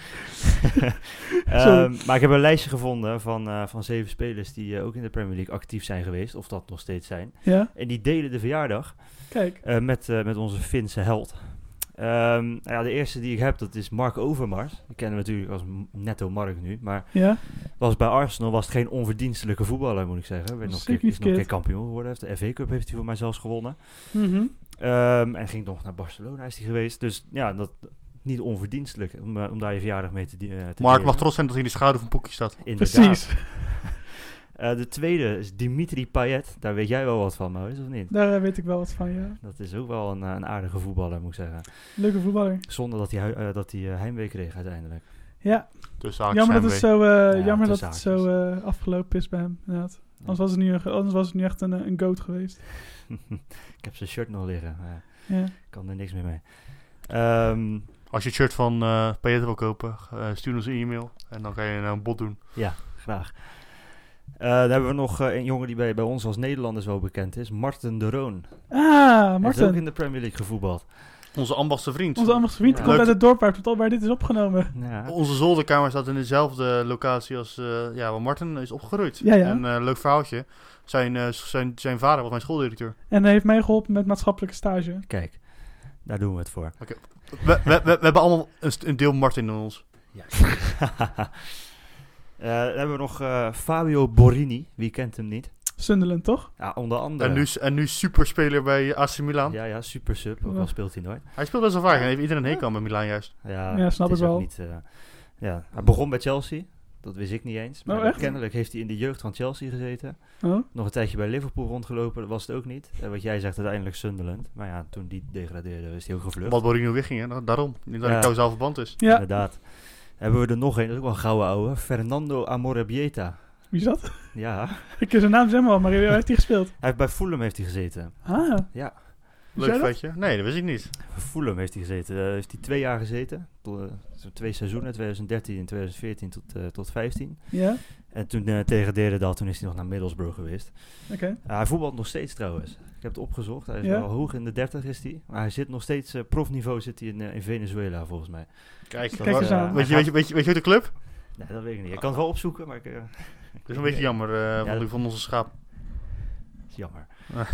Speaker 3: Ehm, maar ik heb een lijstje gevonden van, eh, van zeven spelers die eh, ook in de Premier League actief zijn geweest. Of dat nog steeds zijn.
Speaker 2: Ja,
Speaker 3: En die delen de verjaardag
Speaker 2: kijk.
Speaker 3: eh, met, eh, met onze Finse held. Ehm, nou ja, de eerste die ik heb, dat is Mark Overmars. Die kennen we natuurlijk als M- netto Mark nu. Maar
Speaker 2: Ja,
Speaker 3: was bij Arsenal was het geen onverdienstelijke voetballer, moet ik zeggen. Werd nog een
Speaker 2: Zeker
Speaker 3: keer,
Speaker 2: niet
Speaker 3: is nog een keer
Speaker 2: verkeerd.
Speaker 3: kampioen geworden. Heeft de FA Cup heeft hij voor mij zelfs gewonnen.
Speaker 2: Mhm.
Speaker 3: Ehm, en ging nog naar Barcelona is hij geweest. Dus ja, dat niet onverdienstelijk om, eh, om daar je verjaardag mee te, di- eh, te
Speaker 4: Mark
Speaker 3: delen.
Speaker 4: mag trots zijn dat hij in de schaduw van Poekie staat.
Speaker 3: Inderdaad.
Speaker 2: precies.
Speaker 3: Eh, de tweede is Dimitri Payet. Daar weet jij wel wat van, Maurice, of niet?
Speaker 2: Daar eh, weet ik wel wat van, ja.
Speaker 3: Dat is ook wel een, eh, een aardige voetballer, moet ik zeggen.
Speaker 2: Leuke voetballer.
Speaker 3: Zonder dat hij, hui- eh, dat hij eh, heimwee kreeg uiteindelijk.
Speaker 2: Ja,
Speaker 4: Dus haakjes
Speaker 2: jammer dat
Speaker 4: zijn
Speaker 2: het
Speaker 4: we.
Speaker 2: zo, eh, jammer dat
Speaker 3: tussen
Speaker 2: het zo eh, afgelopen is bij hem, inderdaad. Anders was het nu, een- anders was het nu echt een, eh, een goat geweest.
Speaker 3: ik heb zijn shirt nog liggen. maar
Speaker 2: Ja.
Speaker 3: ik kan er niks meer mee. Ehm,
Speaker 4: Als je het shirt van eh Payet wil kopen, eh, stuur ons een e-mail. En dan kan je een bod doen.
Speaker 3: ja, graag. Eh, dan hebben we nog eh, een jongen die bij, bij ons als Nederlanders wel bekend is. Marten de Roon.
Speaker 2: Ah,
Speaker 3: Hij heeft ook
Speaker 2: Martin.
Speaker 3: in de Premier League gevoetbald.
Speaker 4: Onze ambachtse vriend.
Speaker 2: Onze andere vriend
Speaker 3: Ja.
Speaker 2: komt
Speaker 4: Leuk.
Speaker 2: uit het dorp waar het al bij dit is opgenomen.
Speaker 3: Ja,
Speaker 4: Onze zolderkamer staat in dezelfde locatie als eh, ja, waar Martin is opgegroeid.
Speaker 2: Ja, ja.
Speaker 4: En eh, leuk verhaaltje. Zijn, eh, s- zijn, zijn vader was mijn schooldirecteur.
Speaker 2: En hij heeft mij geholpen met maatschappelijke stage.
Speaker 3: kijk. Daar doen we het voor.
Speaker 4: We, we, we, we hebben allemaal een, st- een deel Martin in ons.
Speaker 3: Ja. dan hebben we nog eh, Fabio Borini. Wie kent hem niet?
Speaker 2: Sunderland, toch?
Speaker 3: Ja, onder andere.
Speaker 4: En nu, s- en nu superspeler bij AC Milan.
Speaker 3: Ja, ja, super sub. Ook
Speaker 2: Ja.
Speaker 3: al speelt hij nooit.
Speaker 4: Hij speelt best wel vaak. En heeft iedereen een hekel aan bij Milan juist.
Speaker 3: Ja,
Speaker 2: Ja, snap
Speaker 3: het
Speaker 2: ik
Speaker 3: is ook
Speaker 2: wel.
Speaker 3: Niet, eh, ja. Hij begon bij Chelsea, dat wist ik niet eens. Maar
Speaker 2: Oh, echt?
Speaker 3: kennelijk heeft hij in de jeugd van Chelsea gezeten.
Speaker 2: Oh.
Speaker 3: Nog een tijdje bij Liverpool rondgelopen, dat was het ook niet. En wat jij zegt, uiteindelijk Sunderland. Maar ja, toen die degradeerde, is hij ook gevlucht.
Speaker 4: Wat Borino wegging, hè. Da- daarom. Niet dat
Speaker 3: Ja.
Speaker 4: het causaal verband is.
Speaker 2: Ja,
Speaker 3: Inderdaad. Hebben we er nog een, dat is ook wel een gouden ouwe. Fernando Amorebieta.
Speaker 2: wie is dat?
Speaker 3: Ja, hij
Speaker 2: Ik ken zijn naam zeg maar, maar waar heeft hij gespeeld?
Speaker 3: heeft bij Fulham heeft hij gezeten.
Speaker 2: Ah,
Speaker 3: Ja,
Speaker 2: Wist jij
Speaker 4: Leuk
Speaker 2: dat?
Speaker 4: feitje. Nee, dat wist ik niet.
Speaker 3: bij Fulham heeft hij gezeten. Eh, heeft hij twee jaar gezeten. Tot, eh, zo'n twee seizoenen, 2013 en 2014 tot, eh, tot 15.
Speaker 2: ja,
Speaker 3: En toen eh degradeerde dat, toen is hij nog naar Middlesbrough geweest.
Speaker 2: oké.
Speaker 3: Ja, hij voetbalt nog steeds trouwens. Ik heb het opgezocht. Hij is
Speaker 2: Ja?
Speaker 3: wel hoog in de 30 is hij. Maar hij zit nog steeds, eh, profniveau zit hij in, eh, in Venezuela volgens mij.
Speaker 4: Kijk,
Speaker 2: Kijk eens
Speaker 3: eh,
Speaker 2: aan.
Speaker 4: Weet je, weet, je, weet, je, weet je de club?
Speaker 3: Nee, dat weet ik niet. Ik kan het wel opzoeken, maar ik, eh,
Speaker 4: Dat is een beetje jammer eh, want
Speaker 3: dat-
Speaker 4: ik vond onze schaap.
Speaker 3: is jammer.
Speaker 4: Ah.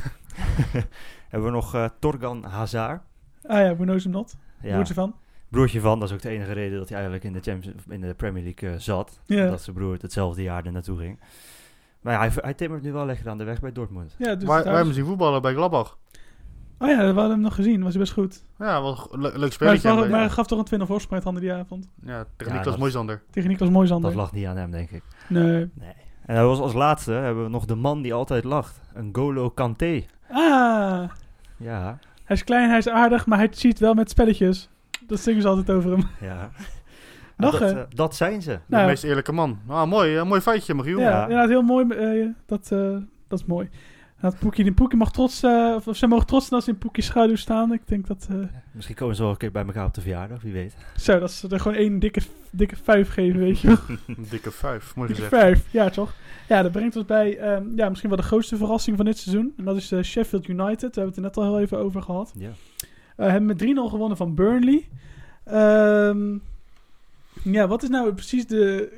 Speaker 3: Hebben we nog eh, Torgan Hazard.
Speaker 2: Ah ja, who knows him not? Hoe
Speaker 3: Ja,
Speaker 2: ze van?
Speaker 3: broertje van, dat is ook de enige reden dat hij eigenlijk in de, Champions, in de Premier League eh, zat.
Speaker 2: Ja.
Speaker 3: Dat zijn broer het hetzelfde jaar er naartoe ging. Maar hij, hij timmert nu wel lekker aan de weg bij Dortmund.
Speaker 2: Ja, dus
Speaker 4: Waar,
Speaker 2: het
Speaker 4: waar hebben
Speaker 2: huis-
Speaker 4: we zien voetballen bij Gladbach?
Speaker 2: Oh ja, we hadden hem nog gezien. Was hij best goed.
Speaker 4: Ja, wel een go- le- leuk
Speaker 2: Maar, het
Speaker 4: spelletje.
Speaker 2: was-
Speaker 4: hebben
Speaker 2: maar hij
Speaker 4: we.
Speaker 2: gaf toch een 20 voorsprong aan die avond.
Speaker 4: Ja,
Speaker 3: Ja,
Speaker 4: techniek was
Speaker 3: dat-
Speaker 4: mooi Sander.
Speaker 2: Tegen Niklas Mooijzander.
Speaker 3: Dat lag niet aan hem, denk ik.
Speaker 2: Nee.
Speaker 3: En hij was als laatste hebben we nog de man die altijd lacht. Een Golo Kanté.
Speaker 2: Ah,
Speaker 3: Ja,
Speaker 2: hij is klein, hij is aardig, maar hij cheat wel met spelletjes. Dat zingen ze altijd over hem.
Speaker 3: ja.
Speaker 2: Lachen.
Speaker 3: Dat, eh, dat zijn ze.
Speaker 4: De
Speaker 2: Nou.
Speaker 4: meest eerlijke man. Ah, mooi, eh, mooi feitje, Magiel.
Speaker 2: Ja, inderdaad, heel mooi. eh, dat, eh, dat is mooi. Dat Poekie, die Poekie mag trots, eh, of, of zij mogen trots zijn als ze in Poekie's schaduw staan. Ik denk dat... eh,
Speaker 3: Misschien komen ze wel een keer bij elkaar op de verjaardag, wie weet.
Speaker 2: zo, dat ze er gewoon één dikke, dikke vijf geven, weet je wel.
Speaker 4: Een dikke vijf, mooi
Speaker 2: Dikke
Speaker 4: gezegd.
Speaker 2: vijf, ja toch? Ja, dat brengt ons bij ehm, ja, misschien wel de grootste verrassing van dit seizoen. En dat is eh, Sheffield United. We hebben het er net al heel even over gehad.
Speaker 3: Ja.
Speaker 2: Eh, hebben met 3-0 gewonnen van Burnley. Ehm, ja, wat is nou precies de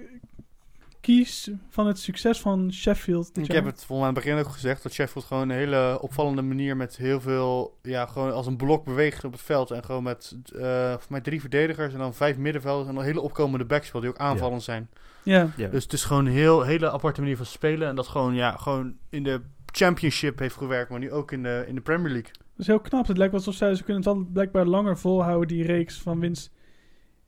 Speaker 2: kies van het succes van Sheffield? dit
Speaker 4: Ik
Speaker 2: jaar?
Speaker 4: heb het volgens mij aan het begin ook gezegd dat Sheffield gewoon een hele opvallende manier met heel veel, ja, gewoon als een blok beweegt op het veld. En gewoon met, eh volgens mij drie verdedigers en dan vijf middenvelders en dan hele opkomende backs speelt die ook aanvallend zijn.
Speaker 2: Ja,
Speaker 3: Ja.
Speaker 4: Dus het is gewoon een heel, hele aparte manier van spelen. En dat gewoon, ja, gewoon in de championship heeft gewerkt, maar nu ook in de, in de Premier League.
Speaker 2: dat is heel knap. Het lijkt wel alsof zij, ze kunnen het wel blijkbaar langer volhouden, die reeks van winst,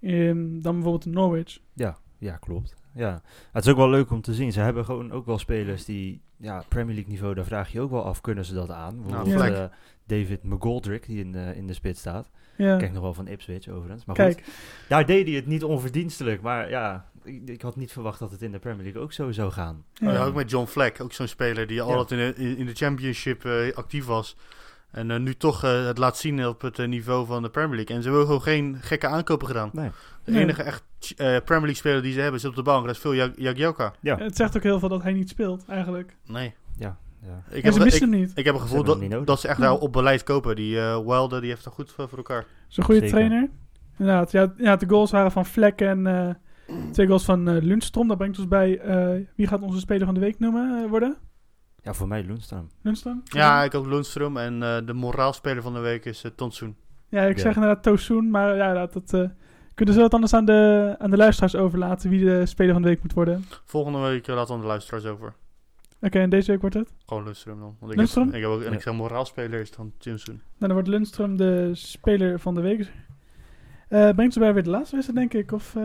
Speaker 2: ehm, dan bijvoorbeeld Norwich.
Speaker 3: Ja, ja, klopt. Ja. Het is ook wel leuk om te zien. Ze hebben gewoon ook wel spelers die, ja, Premier League niveau, daar vraag je je ook wel af, kunnen ze dat
Speaker 2: Nou,
Speaker 3: aan? Bijvoorbeeld
Speaker 2: Fleck.
Speaker 3: eh, David McGoldrick, die in de, in de spits staat.
Speaker 2: Ja,
Speaker 3: Kijk nog wel van Ipswich overigens. Maar
Speaker 2: kijk.
Speaker 3: goed, daar deed hij het niet onverdienstelijk. Maar ja, ik, ik had niet verwacht dat het in de Premier League ook zo zou gaan.
Speaker 4: Oh, Ja.
Speaker 2: Ja.
Speaker 4: ook met John Fleck, ook zo'n speler die altijd in de, in- in de championship eh, actief was. En eh, nu toch eh, het laat zien op het eh, niveau van de Premier League. En ze hebben gewoon geen gekke aankopen gedaan.
Speaker 3: Nee.
Speaker 4: De
Speaker 2: Nee.
Speaker 4: enige echt eh, Premier League speler die ze hebben zit op de bank. Dat is veel Jag- Jagielka.
Speaker 3: Ja.
Speaker 2: Het zegt ook heel veel dat hij niet speelt, eigenlijk.
Speaker 4: Nee.
Speaker 3: Ja.
Speaker 4: Ik
Speaker 2: en ze
Speaker 4: heb, het-
Speaker 2: missen
Speaker 4: ik,
Speaker 2: hem niet.
Speaker 4: ik heb het gevoel
Speaker 3: hebben hem niet
Speaker 4: dat,
Speaker 3: nodig.
Speaker 4: dat ze echt daar op beleid kopen. Die eh Wilder die heeft er goed voor, voor elkaar.
Speaker 2: Is een goede
Speaker 3: Zeker.
Speaker 2: trainer. Inderdaad, ja, ja, de goals waren van Vlek en eh, twee goals van eh Lundstrom. Dat brengt ons bij, eh, wie gaat onze speler van de week noemen eh, worden?
Speaker 3: ja, voor mij Lundstrom.
Speaker 2: Lundstrom?
Speaker 4: Ja, ik ook Lundstrom. En eh, de moraalspeler van de week is eh, Tonsoen.
Speaker 2: Ja, ik
Speaker 3: Ja.
Speaker 2: zeg inderdaad Tosun, maar ja, dat, dat eh, kunnen ze wat anders aan de, aan de luisteraars overlaten wie de speler van de week moet worden. Oké,
Speaker 4: Volgende week eh, laten we aan de luisteraars over.
Speaker 2: en deze week wordt het?
Speaker 4: Gewoon Lundstrom dan. Want ik
Speaker 2: Lundstrom?
Speaker 4: Heb, ik heb ook,
Speaker 3: Ja.
Speaker 4: en ik zeg moraalspeler is dan Tonsoen.
Speaker 2: Nou, dan wordt Lundstrom de speler van de week. Eh, brengt ze bij weer de laatste wedstrijd, denk ik? Of, eh, wie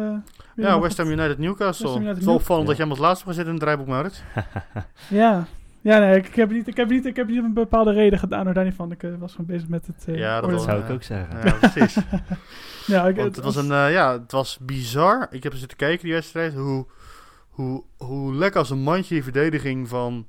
Speaker 2: er
Speaker 4: Ja,
Speaker 2: nog
Speaker 4: West Ham United Newcastle.
Speaker 2: West Ham United
Speaker 4: het is
Speaker 2: Newcastle.
Speaker 4: wel opvallend
Speaker 3: Ja.
Speaker 4: dat jij hem als laatste hebt gezet in het draaiboek, Maurits.
Speaker 2: Ja, ja nee, ik, ik heb niet, ik, heb niet, ik heb niet een bepaalde reden gedaan, hoor, daar niet van. Ik eh, was gewoon bezig met het... eh,
Speaker 4: Ja, dat
Speaker 2: oordeel.
Speaker 4: was-
Speaker 3: zou ik
Speaker 4: eh,
Speaker 3: ook zeggen.
Speaker 4: Ja, precies.
Speaker 2: Ja, ik,
Speaker 4: Want het was, een, eh, ja, het was bizar. Ik heb er zitten kijken, die wedstrijd. Hoe, hoe, hoe lekker als een mandje die verdediging van,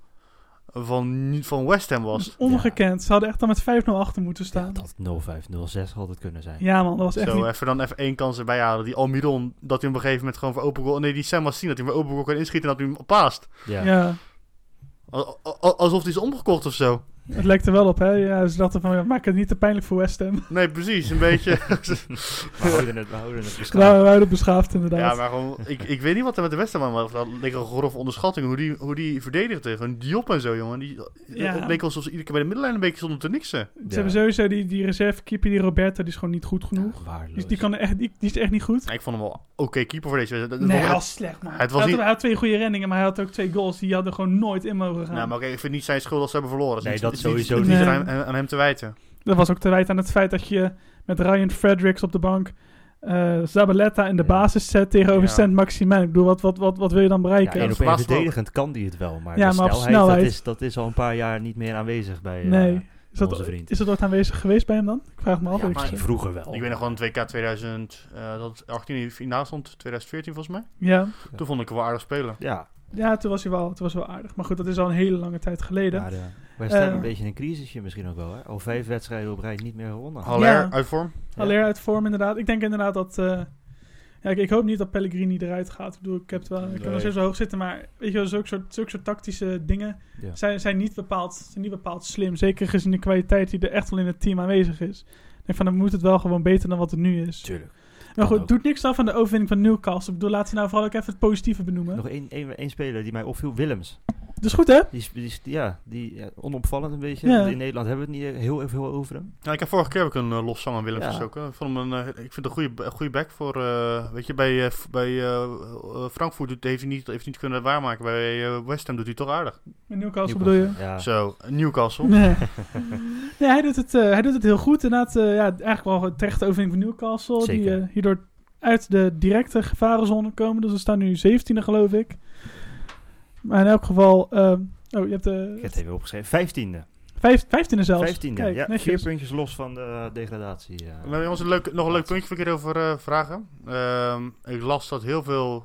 Speaker 4: van, van West Ham
Speaker 2: het
Speaker 4: was.
Speaker 2: was ongekend. Ze hadden echt dan met 5-0 achter moeten
Speaker 3: Ja,
Speaker 2: staan.
Speaker 3: dat 0506 had het kunnen zijn.
Speaker 2: Ja, man, dat was echt
Speaker 4: Zo,
Speaker 2: niet...
Speaker 4: even dan even één kans erbij halen. Die Almiron, dat hij hem op een gegeven moment gewoon voor open goal... Nee, die Sam was zien dat hij hem voor open goal kan inschieten en dat hij hem paast.
Speaker 3: Ja.
Speaker 2: Ja,
Speaker 4: Al- al- Alsof hij is omgekocht of zo.
Speaker 2: het lijkt er wel op, hè. Ja, ze dachten van, ja, maak het niet te pijnlijk voor West Ham.
Speaker 4: Nee, precies. Een beetje...
Speaker 3: We houden het, we houden het beschaafd.
Speaker 2: Nou, we waren beschaafd, inderdaad.
Speaker 4: Ja, maar gewoon, ik, ik weet niet wat er met de Westerman was. Dat leek een grof onderschatting hoe die, hoe die verdedigde. Gewoon Diop en zo, jongen. Die,
Speaker 2: Ja.
Speaker 4: Het leek alsof ze iedere keer bij de middenlijn een beetje stonden te niksen.
Speaker 2: Ze hebben sowieso die, die reservekeeper, die Roberto, die is gewoon niet goed genoeg.
Speaker 3: Ja,
Speaker 2: Die,
Speaker 3: waardeloos.
Speaker 2: die, kan echt, die, die nou, is echt niet goed.
Speaker 4: Ja, ik vond hem wel oké keeper voor deze wedstrijd. Dat-
Speaker 2: Nee,
Speaker 4: dat-
Speaker 2: hij was slecht, man.
Speaker 4: Het was
Speaker 2: hij, had,
Speaker 4: niet-
Speaker 2: hij had twee goede reddingen, maar hij had ook twee goals. Die hadden gewoon nooit in mogen gaan.
Speaker 4: Nou, maar oké, ik vind niet zijn schuld als ze hebben verloren.
Speaker 3: Nee,
Speaker 4: is
Speaker 3: dat
Speaker 4: is is
Speaker 3: sowieso
Speaker 4: niet
Speaker 2: niet.
Speaker 4: aan, aan- aan hem te wijten.
Speaker 2: Dat was ook te wijten aan het feit dat je met Ryan Fredericks op de bank... eh Zabaleta in de
Speaker 3: Ja.
Speaker 2: basis zet tegenover
Speaker 4: Ja.
Speaker 2: Saint Maximin. Ik bedoel, wat, wat, wat, wat wil je dan
Speaker 3: Ja,
Speaker 2: bereiken?
Speaker 3: één op
Speaker 4: verbaast
Speaker 3: één
Speaker 4: me ook.
Speaker 3: verdedigend kan die het wel, maar,
Speaker 2: Ja,
Speaker 3: de
Speaker 2: maar op
Speaker 3: snelheid,
Speaker 2: snelheid.
Speaker 3: Dat, is, dat is al een paar jaar niet meer aanwezig bij eh,
Speaker 2: Nee. Is dat,
Speaker 3: onze vriend.
Speaker 2: is dat ooit aanwezig geweest bij hem dan? Ik vraag me af.
Speaker 4: Ja,
Speaker 2: eerlijk
Speaker 4: maar-
Speaker 2: gezegd.
Speaker 3: Vroeger wel.
Speaker 4: Ik weet nog gewoon 2K 2000, eh dat 18 in de finale stond, 2014 volgens mij.
Speaker 2: ja.
Speaker 3: Ja.
Speaker 4: Toen vond ik hem wel aardig spelen.
Speaker 3: Ja,
Speaker 2: ja, toen was hij wel, toen was hij wel aardig. Maar goed, dat is al een hele lange tijd geleden.
Speaker 3: maar eh, wij staan
Speaker 2: Eh.
Speaker 3: een beetje in een crisisje misschien ook wel. Hè? Al vijf wedstrijden op rij niet meer gewonnen.
Speaker 4: Haller,
Speaker 2: Ja.
Speaker 4: uit vorm.
Speaker 3: Ja.
Speaker 2: Haller uit vorm inderdaad. Ik denk inderdaad dat... eh, ja, ik, ik hoop niet dat Pellegrini eruit gaat. Ik bedoel, ik heb het wel... Ik heb hem nog
Speaker 4: Nee.
Speaker 2: steeds wel hoog zitten, maar... Weet je wel, zulke soort, zulke soort tactische dingen
Speaker 3: Ja.
Speaker 2: zijn, zijn, niet bepaald, zijn niet bepaald slim. Zeker gezien de kwaliteit die er echt wel in het team aanwezig is. Ik denk van, dan moet het wel gewoon beter dan wat het nu is.
Speaker 3: Tuurlijk.
Speaker 2: Nou goed,
Speaker 3: ook.
Speaker 2: doet niks af aan de overwinning van Newcastle. Ik bedoel, laten we nou vooral ook even het positieve benoemen.
Speaker 3: Nog e- één, één, één speler die mij opviel, Willems.
Speaker 2: Dat is goed, hè?
Speaker 3: Die, is- die, is- ja, die ja, onopvallend een beetje.
Speaker 2: Ja.
Speaker 3: want In Nederland hebben we het niet heel veel over hem.
Speaker 4: Ja, ik heb vorige keer ook een eh, los zang aan Willems
Speaker 3: Ja.
Speaker 4: gestoken. Ik, vond hem een, eh, ik vind het een goede, een goede back voor... eh, weet je, bij, eh, f- bij eh, eh, Frankfurt doet, heeft, hij niet, heeft hij niet kunnen waarmaken. Bij eh, West Ham doet hij toch aardig.
Speaker 2: Met Newcastle
Speaker 3: Newcastle,
Speaker 2: bedoel je?
Speaker 3: Ja.
Speaker 4: Zo, Newcastle.
Speaker 2: Nee. nee, hij doet, het, eh, hij doet het heel goed. Inderdaad, eh, ja, eigenlijk wel een terechte overwinning van Newcastle. Die
Speaker 3: Zeker.
Speaker 2: eh, hierdoor uit de directe gevarenzone komen. Dus we staan nu 17e, geloof ik. Maar in elk geval... ehm, oh, je hebt
Speaker 3: Ik
Speaker 2: de
Speaker 3: heb het even opgeschreven. Vijftiende.
Speaker 2: vijf, 15e zelfs.
Speaker 3: Vijftiende,
Speaker 2: Kijk,
Speaker 3: ja. Vier
Speaker 2: netjes.
Speaker 3: puntjes los van de eh, degradatie. ja.
Speaker 4: We hebben ons een leuk, nog een leuk puntje voor ik hierover eh, vragen. Ehm, ik las dat heel veel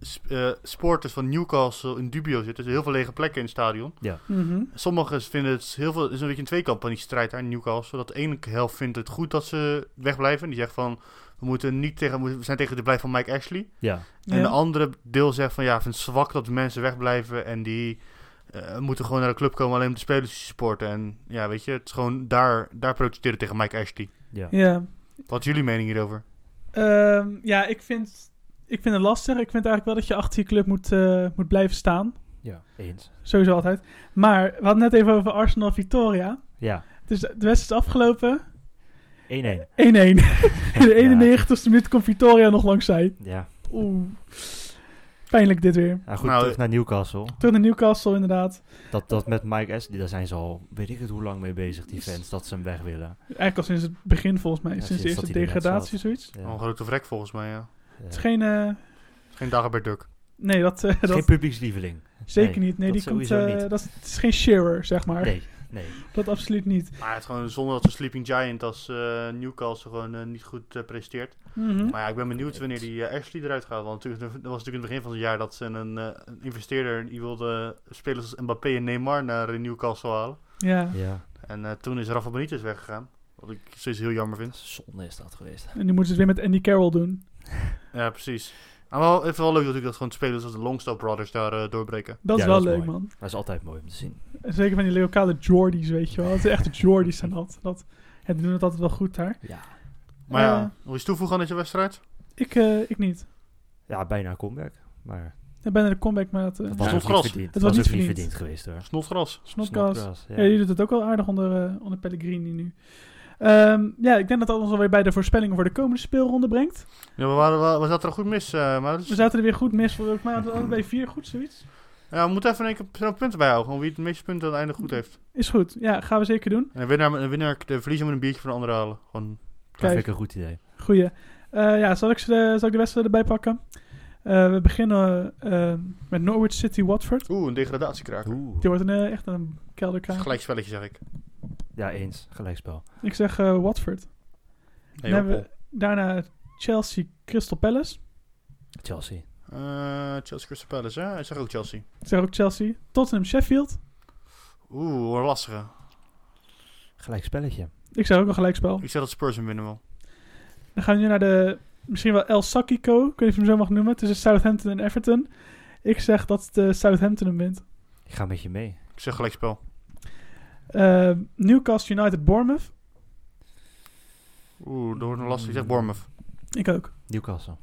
Speaker 4: sp- eh, sporters van Newcastle in dubio zitten. Dus heel veel lege plekken in het stadion.
Speaker 2: Mhm.
Speaker 4: Sommigen vinden het heel veel, het is een beetje een tweekamp aan die strijd aan Newcastle. Dat de ene helft vindt het goed dat ze wegblijven. Die zegt van, we, moeten niet tegen, we zijn tegen de blijf van Mike Ashley.
Speaker 3: Ja.
Speaker 2: Ja.
Speaker 4: En de andere deel zegt van, ja, vindt het zwak dat de mensen wegblijven. En die eh, moeten gewoon naar de club komen alleen om de spelers te supporten. En ja, weet je, het is gewoon daar, daar protesteren tegen Mike Ashley.
Speaker 3: Ja.
Speaker 2: ja.
Speaker 4: Wat is jullie mening hierover?
Speaker 2: Ehm, ja, ik vind, ik vind het lastig. Ik vind eigenlijk wel dat je achter je club moet, eh, moet blijven staan.
Speaker 3: ja, eens.
Speaker 2: Sowieso altijd. Maar we hadden net even over Arsenal Victoria.
Speaker 3: Ja, 1-1.
Speaker 2: Dus de wedstrijd is afgelopen. 1-1. In de 91ste minuut komt Victoria nog langs zij.
Speaker 3: Ja,
Speaker 2: Oeh. Pijnlijk dit weer.
Speaker 3: Nou, goed,
Speaker 4: Nou,
Speaker 3: terug naar Newcastle.
Speaker 2: Terug naar Newcastle inderdaad.
Speaker 3: Dat, dat met Mike Ashley, daar zijn ze al, weet ik het hoe lang mee bezig, die fans, dat ze hem weg willen.
Speaker 2: Eigenlijk al sinds het begin volgens mij.
Speaker 3: Ja,
Speaker 2: sinds de
Speaker 3: sinds
Speaker 2: eerste
Speaker 3: dat hij erin
Speaker 2: degradatie zoiets.
Speaker 3: Ja.
Speaker 4: Al Een grote vrek volgens mij, ja.
Speaker 2: Het is geen... eh,
Speaker 4: Geen Dagobert Duck.
Speaker 2: nee, dat, eh,
Speaker 3: Geen
Speaker 2: dat
Speaker 3: publiekslieveling.
Speaker 2: zeker
Speaker 3: nee,
Speaker 2: niet. Nee,
Speaker 3: dat
Speaker 2: die komt...
Speaker 3: sowieso
Speaker 2: eh,
Speaker 3: niet.
Speaker 2: dat is, het is geen Shearer, zeg maar.
Speaker 3: Nee, nee.
Speaker 2: Dat absoluut niet.
Speaker 4: Maar het is gewoon zonde dat de Sleeping Giant als eh, Newcastle gewoon eh, niet goed eh, presteert.
Speaker 2: Mhm.
Speaker 4: Maar ja, ik ben benieuwd wanneer die eh, Ashley eruit gaat. Want natuurlijk, dat was natuurlijk in het begin van het jaar dat ze een, eh, een investeerder die wilde spelers als Mbappé en Neymar naar eh, Newcastle halen.
Speaker 2: Ja.
Speaker 3: Ja,
Speaker 4: En eh, toen is Rafa Benitez weggegaan. Wat ik steeds heel jammer vind.
Speaker 3: zonde is dat geweest.
Speaker 2: En nu moeten ze het weer met Andy Carroll doen.
Speaker 4: Ja, precies. Maar wel, even wel leuk natuurlijk dat gewoon spelers als de Longstop Brothers daar eh, doorbreken.
Speaker 2: Dat is
Speaker 3: Ja,
Speaker 2: wel
Speaker 3: dat is
Speaker 2: leuk,
Speaker 3: mooi.
Speaker 2: man.
Speaker 3: Dat is altijd mooi om te zien.
Speaker 2: En Zeker van die lokale Jordies, weet je wel. Het zijn echte Jordies zijn dat. dat ja, die doen het altijd wel goed daar.
Speaker 3: Ja,
Speaker 4: Maar ja,
Speaker 2: Eh.
Speaker 4: wil je iets toevoegen aan deze wedstrijd?
Speaker 2: Ik, eh, ik niet.
Speaker 3: ja bijna een comeback. Maar
Speaker 2: Ik ben naar de comeback maat. eh,
Speaker 3: dat
Speaker 4: was
Speaker 3: was
Speaker 4: ook
Speaker 3: ook
Speaker 4: gras.
Speaker 3: niet verdiend.
Speaker 2: Het
Speaker 3: Dat
Speaker 2: was niet
Speaker 3: was ook niet
Speaker 2: verdiend.
Speaker 3: verdiend geweest hoor.
Speaker 4: Snodgras.
Speaker 2: Snodgrass.
Speaker 3: Snodgrass,
Speaker 2: Ja, die doet het ook wel aardig onder, eh, onder Pellegrini nu. Ehm, ja, ik denk dat dat ons alweer bij de voorspellingen voor de komende speelronde brengt.
Speaker 4: Ja, we, waren, wel- we zaten er goed mis, eh, maar dat is-
Speaker 2: We zaten er weer goed mis. Volgens mij hadden we allebei vier goed, zoiets.
Speaker 4: Ja, we moeten even een keer snel punten bijhouden. Gewoon wie het meeste punten aan het einde goed heeft.
Speaker 2: Is goed. Ja, gaan we zeker doen.
Speaker 4: En de winnaar, de winnaar de verliezer moet een biertje van de ander halen. Gewoon,
Speaker 3: Dat vind
Speaker 2: Kijk.
Speaker 3: ik een goed idee.
Speaker 2: Goeie. Eh, ja, zal ik, ze de, zal ik de wedstrijd erbij pakken? Eh, we beginnen eh, eh, met Norwich City Watford.
Speaker 4: oeh, een degradatiekraker.
Speaker 3: Oeh.
Speaker 2: Die wordt een, eh, echt een
Speaker 4: Dat is
Speaker 2: kelderkaart.
Speaker 4: Gelijk spelletje zeg ik.
Speaker 3: Ja, eens. Gelijkspel.
Speaker 2: Ik zeg eh, Watford.
Speaker 4: Hey,
Speaker 2: Dan hebben we daarna Chelsea Crystal Palace.
Speaker 3: Chelsea.
Speaker 4: Eh, Chelsea Crystal Palace, hè? Hij zegt ook Chelsea.
Speaker 2: Ik zeg ook Chelsea. Tottenham Sheffield.
Speaker 4: Oeh, een lastige.
Speaker 3: Gelijkspelletje.
Speaker 2: Ik zeg ook een gelijkspel.
Speaker 4: Ik zeg dat Spurs hem winnen wel.
Speaker 2: Dan gaan we nu naar de misschien wel El Sacico. Ik weet niet of je hem zo mag noemen. Tussen Southampton en Everton. Ik zeg dat de Southampton hem wint.
Speaker 3: Ik ga met je mee.
Speaker 4: Ik zeg gelijkspel.
Speaker 2: Eh, Newcastle United Bournemouth.
Speaker 4: Oeh, dat wordt een
Speaker 3: Hmm.
Speaker 4: lastige. Ik zeg Bournemouth.
Speaker 2: Ik ook.
Speaker 3: Newcastle.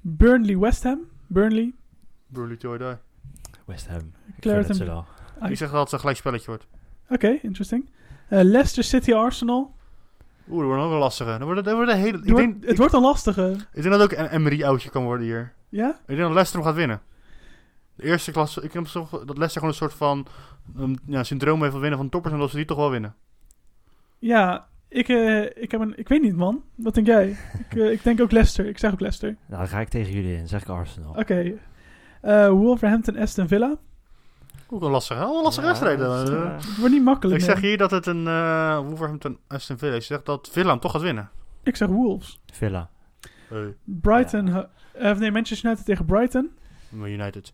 Speaker 2: Burnley West Ham. Burnley.
Speaker 4: Broerly till I die.
Speaker 3: Ah, West Ham. Ik gun het
Speaker 2: Clareton.
Speaker 3: ze
Speaker 2: Oké,
Speaker 3: wel.
Speaker 4: Ik zeg dat het een gelijkspelletje wordt.
Speaker 2: interesting. Eh, Leicester City Arsenal.
Speaker 4: Oeh, dat wordt ook een lastige. Dat wordt, dat wordt een hele...
Speaker 2: Het
Speaker 4: Ik denk,
Speaker 2: wordt- het
Speaker 4: ik,
Speaker 2: wordt een lastige.
Speaker 4: ik denk dat ook een Emery-outje kan worden hier.
Speaker 2: Ja?
Speaker 4: Ik denk dat Leicester hem gaat winnen. De eerste klasse, ik heb toch dat Leicester gewoon een soort van ehm, ja, syndroom heeft van winnen van toppers en dat ze die toch wel winnen.
Speaker 2: Ja, ik, eh, ik, heb een, ik weet niet, man. Wat denk jij? ik, eh, ik denk ook Leicester. Ik zeg ook Leicester.
Speaker 3: Nou, dan ga ik tegen jullie in. Zeg ik Arsenal.
Speaker 2: Oké. Eh, Wolverhampton Aston Villa.
Speaker 4: Ook een lastige, allemaal een lastige
Speaker 3: Ja,
Speaker 4: wedstrijden.
Speaker 3: dat is,
Speaker 4: Eh,
Speaker 3: eh,
Speaker 2: Het wordt niet makkelijk.
Speaker 4: ik zeg
Speaker 2: nee.
Speaker 4: hier dat het een eh Wolverhampton Aston Villa is. Ik zeg dat Villa hem toch gaat winnen.
Speaker 2: Ik zeg Wolves.
Speaker 3: Villa.
Speaker 2: Brighton. eh, of nee, Manchester United tegen Brighton.
Speaker 4: Maar United.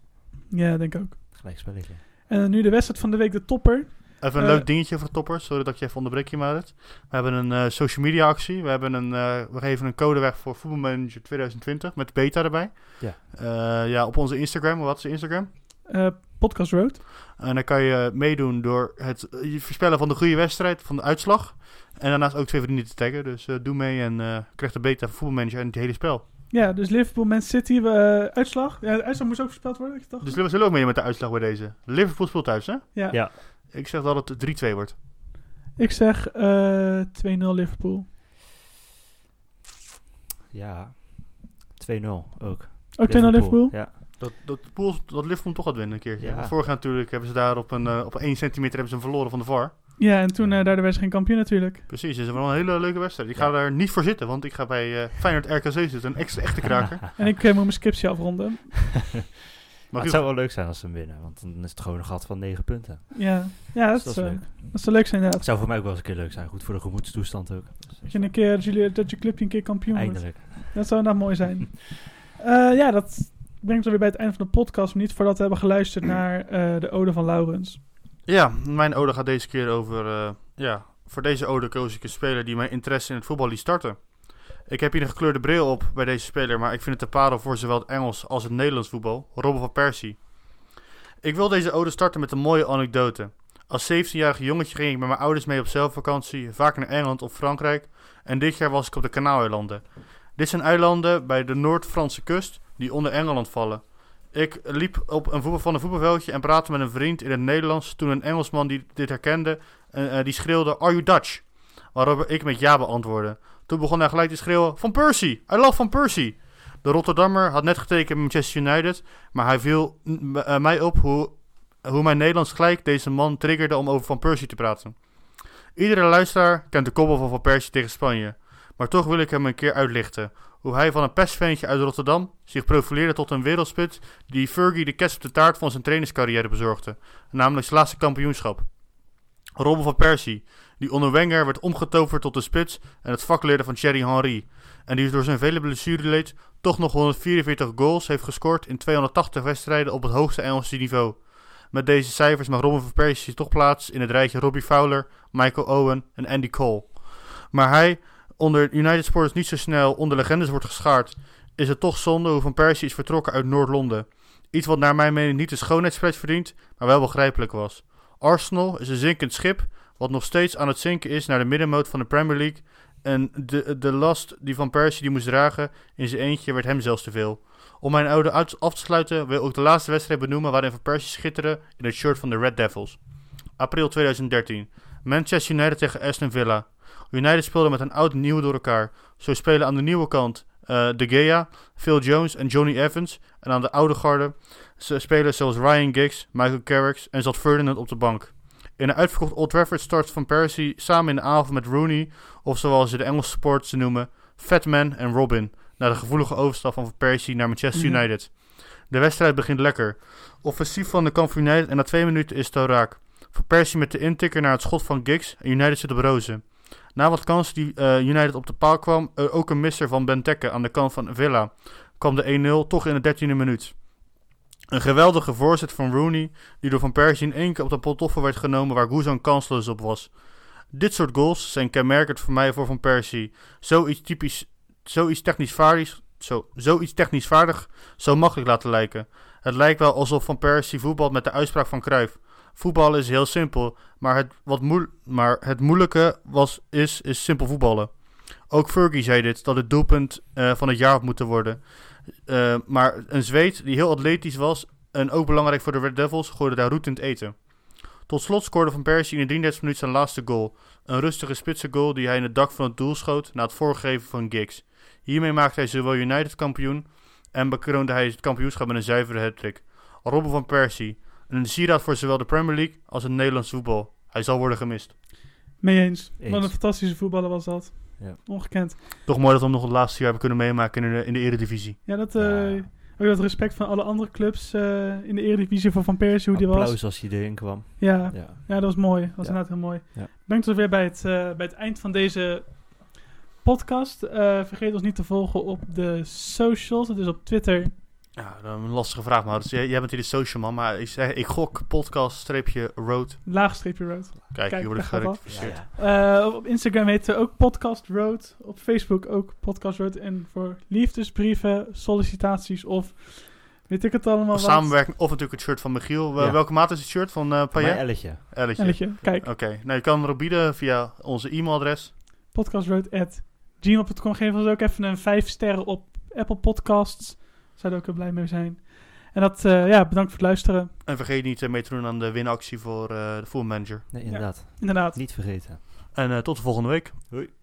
Speaker 2: Ja, denk ik ook.
Speaker 3: Gelijkspelletje.
Speaker 2: En nu de wedstrijd van de week, de topper.
Speaker 4: Even een
Speaker 2: Eh.
Speaker 4: leuk dingetje voor toppers. Sorry dat ik je even onderbreek hier, Marit. We hebben een eh, social media actie. We, hebben een, eh, we geven een code weg voor voetbalmanager 2020 met beta erbij.
Speaker 3: Ja.
Speaker 4: Eh, ja, op onze Instagram. Wat is de Instagram?
Speaker 2: Eh Podcast Road.
Speaker 4: En dan kan je meedoen door het eh, je voorspellen van de goede wedstrijd, van de uitslag. En daarnaast ook twee vrienden te taggen. Dus eh, doe mee en eh, krijg de beta van voetbalmanager en het hele spel.
Speaker 2: Ja, dus Liverpool, Man City, eh, uitslag. Ja, de uitslag moest ook voorspeld worden, ik dacht.
Speaker 4: Dus we zullen ook mee met de uitslag bij deze. Liverpool speelt thuis, hè?
Speaker 2: Ja.
Speaker 3: Ja.
Speaker 4: Ik zeg dat het 3-2 wordt.
Speaker 2: Ik zeg eh 2-0 Liverpool.
Speaker 3: Ja. 2-0 ook.
Speaker 2: Ook 2-0 Oh, Liverpool?
Speaker 3: Ja.
Speaker 4: Dat, dat, Poel, dat Liverpool toch gaat winnen een keer.
Speaker 3: Ja.
Speaker 4: Vorig jaar natuurlijk hebben ze daar op een, eh, op 1 centimeter hebben ze hem verloren van de VAR.
Speaker 2: Ja, en toen eh daardoor werd ze geen kampioen natuurlijk.
Speaker 4: Precies, het is wel een hele leuke wedstrijd. Ik ga
Speaker 3: Ja.
Speaker 4: daar niet voor zitten, want ik ga bij eh, Feyenoord RKC zitten. Een echte, echte kraker.
Speaker 2: En ik eh, moet mijn scriptie afronden.
Speaker 4: Maar
Speaker 3: Maar het zou wel leuk zijn als ze hem winnen, want dan is het gewoon een gat van 9 punten.
Speaker 2: Ja, ja dat,
Speaker 3: Dus
Speaker 2: is,
Speaker 3: dat is
Speaker 2: eh,
Speaker 3: leuk.
Speaker 2: dat zou leuk zijn inderdaad.
Speaker 3: Het zou voor mij ook wel eens een keer leuk zijn. Goed voor de gemoedstoestand ook.
Speaker 2: Dat je, een keer, dat, jullie, dat je clubje een keer kampioen wordt.
Speaker 3: Eindelijk.
Speaker 2: Dat zou nou mooi zijn. Eh, ja, dat brengt ons weer bij het einde van de podcast. Maar niet voordat we hebben geluisterd naar eh, de ode van Laurens.
Speaker 4: Ja, mijn ode gaat deze keer over. eh, ja, voor deze ode koos ik een speler die mijn interesse in het voetbal liet starten. Ik heb hier een gekleurde bril op bij deze speler, maar ik vind het een parel voor zowel het Engels als het Nederlands voetbal, Robben van Persie. Ik wil deze ode starten met een mooie anekdote. Als 17-jarig jongetje ging ik met mijn ouders mee op zelfvakantie, vaak naar Engeland of Frankrijk, en dit jaar was ik op de Kanaaleilanden. Dit zijn eilanden bij de Noord-Franse kust die onder Engeland vallen. Ik liep op een voetbal van een voetbalveldje en praatte met een vriend in het Nederlands. Toen een Engelsman die dit herkende, eh, eh, die schreeuwde: Are you Dutch? Waarop ik met ja beantwoordde. Toen begon hij gelijk te schreeuwen: Van Persie! I love Van Persie! De Rotterdammer had net getekend bij Manchester United, maar hij viel mm, eh, mij op hoe, hoe mijn Nederlands gelijk deze man triggerde om over Van Persie te praten. Iedere luisteraar kent de koppel van Van Persie tegen Spanje, maar toch wil ik hem een keer uitlichten. Hoe hij van een pestveentje uit Rotterdam zich profileerde tot een wereldspit die Fergie de kerst op de taart van zijn trainerscarrière bezorgde, namelijk zijn laatste kampioenschap. Robben van Persie, die onder Wenger werd omgetoverd tot de spits en het vak leerde van Thierry Henry, en die dus door zijn vele blessureleed toch nog 144 goals heeft gescoord in 280 wedstrijden op het hoogste Engelse niveau. Met deze cijfers mag Robben van Persie toch plaats in het rijtje Robbie Fowler, Michael Owen en Andy Cole. Maar hij, onder United Sports niet zo snel onder legendes wordt geschaard, is het toch zonde hoe Van Persie is vertrokken uit Noord-Londen. Iets wat naar mijn mening niet de schoonheidsprijs verdient, maar wel begrijpelijk was. Arsenal is een zinkend schip, wat nog steeds aan het zinken is naar de middenmoot van de Premier League. En de, de last die Van Persie die moest dragen in zijn eentje werd hem zelfs te veel. Om mijn oude uit- af te sluiten wil ik de laatste wedstrijd benoemen waarin Van Persie schitterde in het shirt van de Red Devils. April 2013. Manchester United tegen Aston Villa. United speelde met een oud en nieuw door elkaar. Zo spelen aan de nieuwe kant eh, De Gea, Phil Jones en Johnny Evans. En aan de oude garde ze- spelers zoals Ryan Giggs, Michael Carricks en zat Ferdinand op de bank. In een uitverkocht Old Trafford start Van Persie samen in de avond met Rooney, of zoals ze de Engelse supporters ze noemen, Fatman en Robin, na de gevoelige overstap van Van Persie naar Manchester
Speaker 2: Mhm.
Speaker 4: United. De wedstrijd begint lekker. Offensief van de kant van United en na twee minuten is het al raak. Van Persie met de intikker naar het schot van Giggs en United zit op rozen. Na wat kansen die eh, United op de paal kwam, er ook een misser van Benteke aan de kant van Villa, kwam de 1-0 toch in de 13e minuut. Een geweldige voorzet van Rooney, die door Van Persie in één keer op de pantoffel werd genomen waar Guzan kansloos op was. Dit soort goals zijn kenmerkend voor mij voor Van Persie. Zoiets, typisch, zoiets, technisch vaardig, zo, zoiets technisch vaardig zo makkelijk laten lijken. Het lijkt wel alsof Van Persie voetbalt met de uitspraak van Cruijff. Voetbal is heel simpel, maar het, wat moe- maar het moeilijke was, is, is simpel voetballen. Ook Fergie zei dit, dat het doelpunt eh, van het jaar had moeten worden. Eh, maar een Zweed die heel atletisch was en ook belangrijk voor de Red Devils, gooide daar roet in het eten. Tot slot scoorde Van Persie in de 33 minuut zijn laatste goal. Een rustige spitse goal die hij in het dak van het doel schoot na het voorgeven van Giggs. Hiermee maakte hij zowel United kampioen en bekroonde hij het kampioenschap met een zuivere hat-trick. Robben van Persie, een sieraad voor zowel de Premier League als het Nederlands voetbal. Hij zal worden gemist.
Speaker 2: Mee eens.
Speaker 3: Eens.
Speaker 2: Wat een fantastische voetballer was dat.
Speaker 3: Ja.
Speaker 2: Ongekend.
Speaker 4: Toch mooi dat we hem nog het laatste jaar hebben kunnen meemaken in de, in de Eredivisie.
Speaker 2: Ja, dat, eh,
Speaker 3: Ja.
Speaker 2: ook dat respect van alle andere clubs eh, in de Eredivisie voor Van Persie, hoe die was.
Speaker 3: Applaus als hij erin kwam.
Speaker 2: Ja,
Speaker 3: Ja.
Speaker 2: Ja, dat was mooi. Dat was
Speaker 3: Ja.
Speaker 2: inderdaad heel mooi.
Speaker 3: Ja.
Speaker 2: Brengt ons weer bij het, eh, bij het eind van deze podcast. Eh, vergeet ons niet te volgen op de socials. Dat is op Twitter.
Speaker 4: Ja, dat is een lastige vraag, maar jij, jij bent hier de social man, maar ik, zeg- ik gok podcast-road.
Speaker 2: Laagstreepje Road.
Speaker 4: Kijk,
Speaker 2: Kijk,
Speaker 4: hier word ik
Speaker 2: daar gaat
Speaker 4: gerectificeerd.
Speaker 3: Ja, ja.
Speaker 2: Eh, op- op Instagram heten we ook Podcast Road. Op Facebook ook Podcast Road. En voor liefdesbrieven, sollicitaties of Weet ik het allemaal
Speaker 4: Of
Speaker 2: wat?
Speaker 4: samenwerking, of natuurlijk het shirt van Michiel. Wel-
Speaker 3: Ja.
Speaker 4: Welke maat is het shirt van eh
Speaker 3: Mijn
Speaker 4: Payet?
Speaker 3: elletje.
Speaker 4: Elletje. Oké,
Speaker 2: Elletje, kijk.
Speaker 4: nou je kan erop bieden via onze e-mailadres.
Speaker 2: podcastroad.gmail.com. Geef ons ook even een 5 sterren op Apple Podcasts. Zouden we ook heel blij mee zijn. En dat, eh, ja, bedankt voor het luisteren.
Speaker 4: En vergeet niet eh, mee te doen aan de winactie voor eh, de Full Manager.
Speaker 3: Nee, inderdaad.
Speaker 2: Inderdaad.
Speaker 3: Niet vergeten.
Speaker 4: En eh, tot de volgende week.
Speaker 3: Hoi.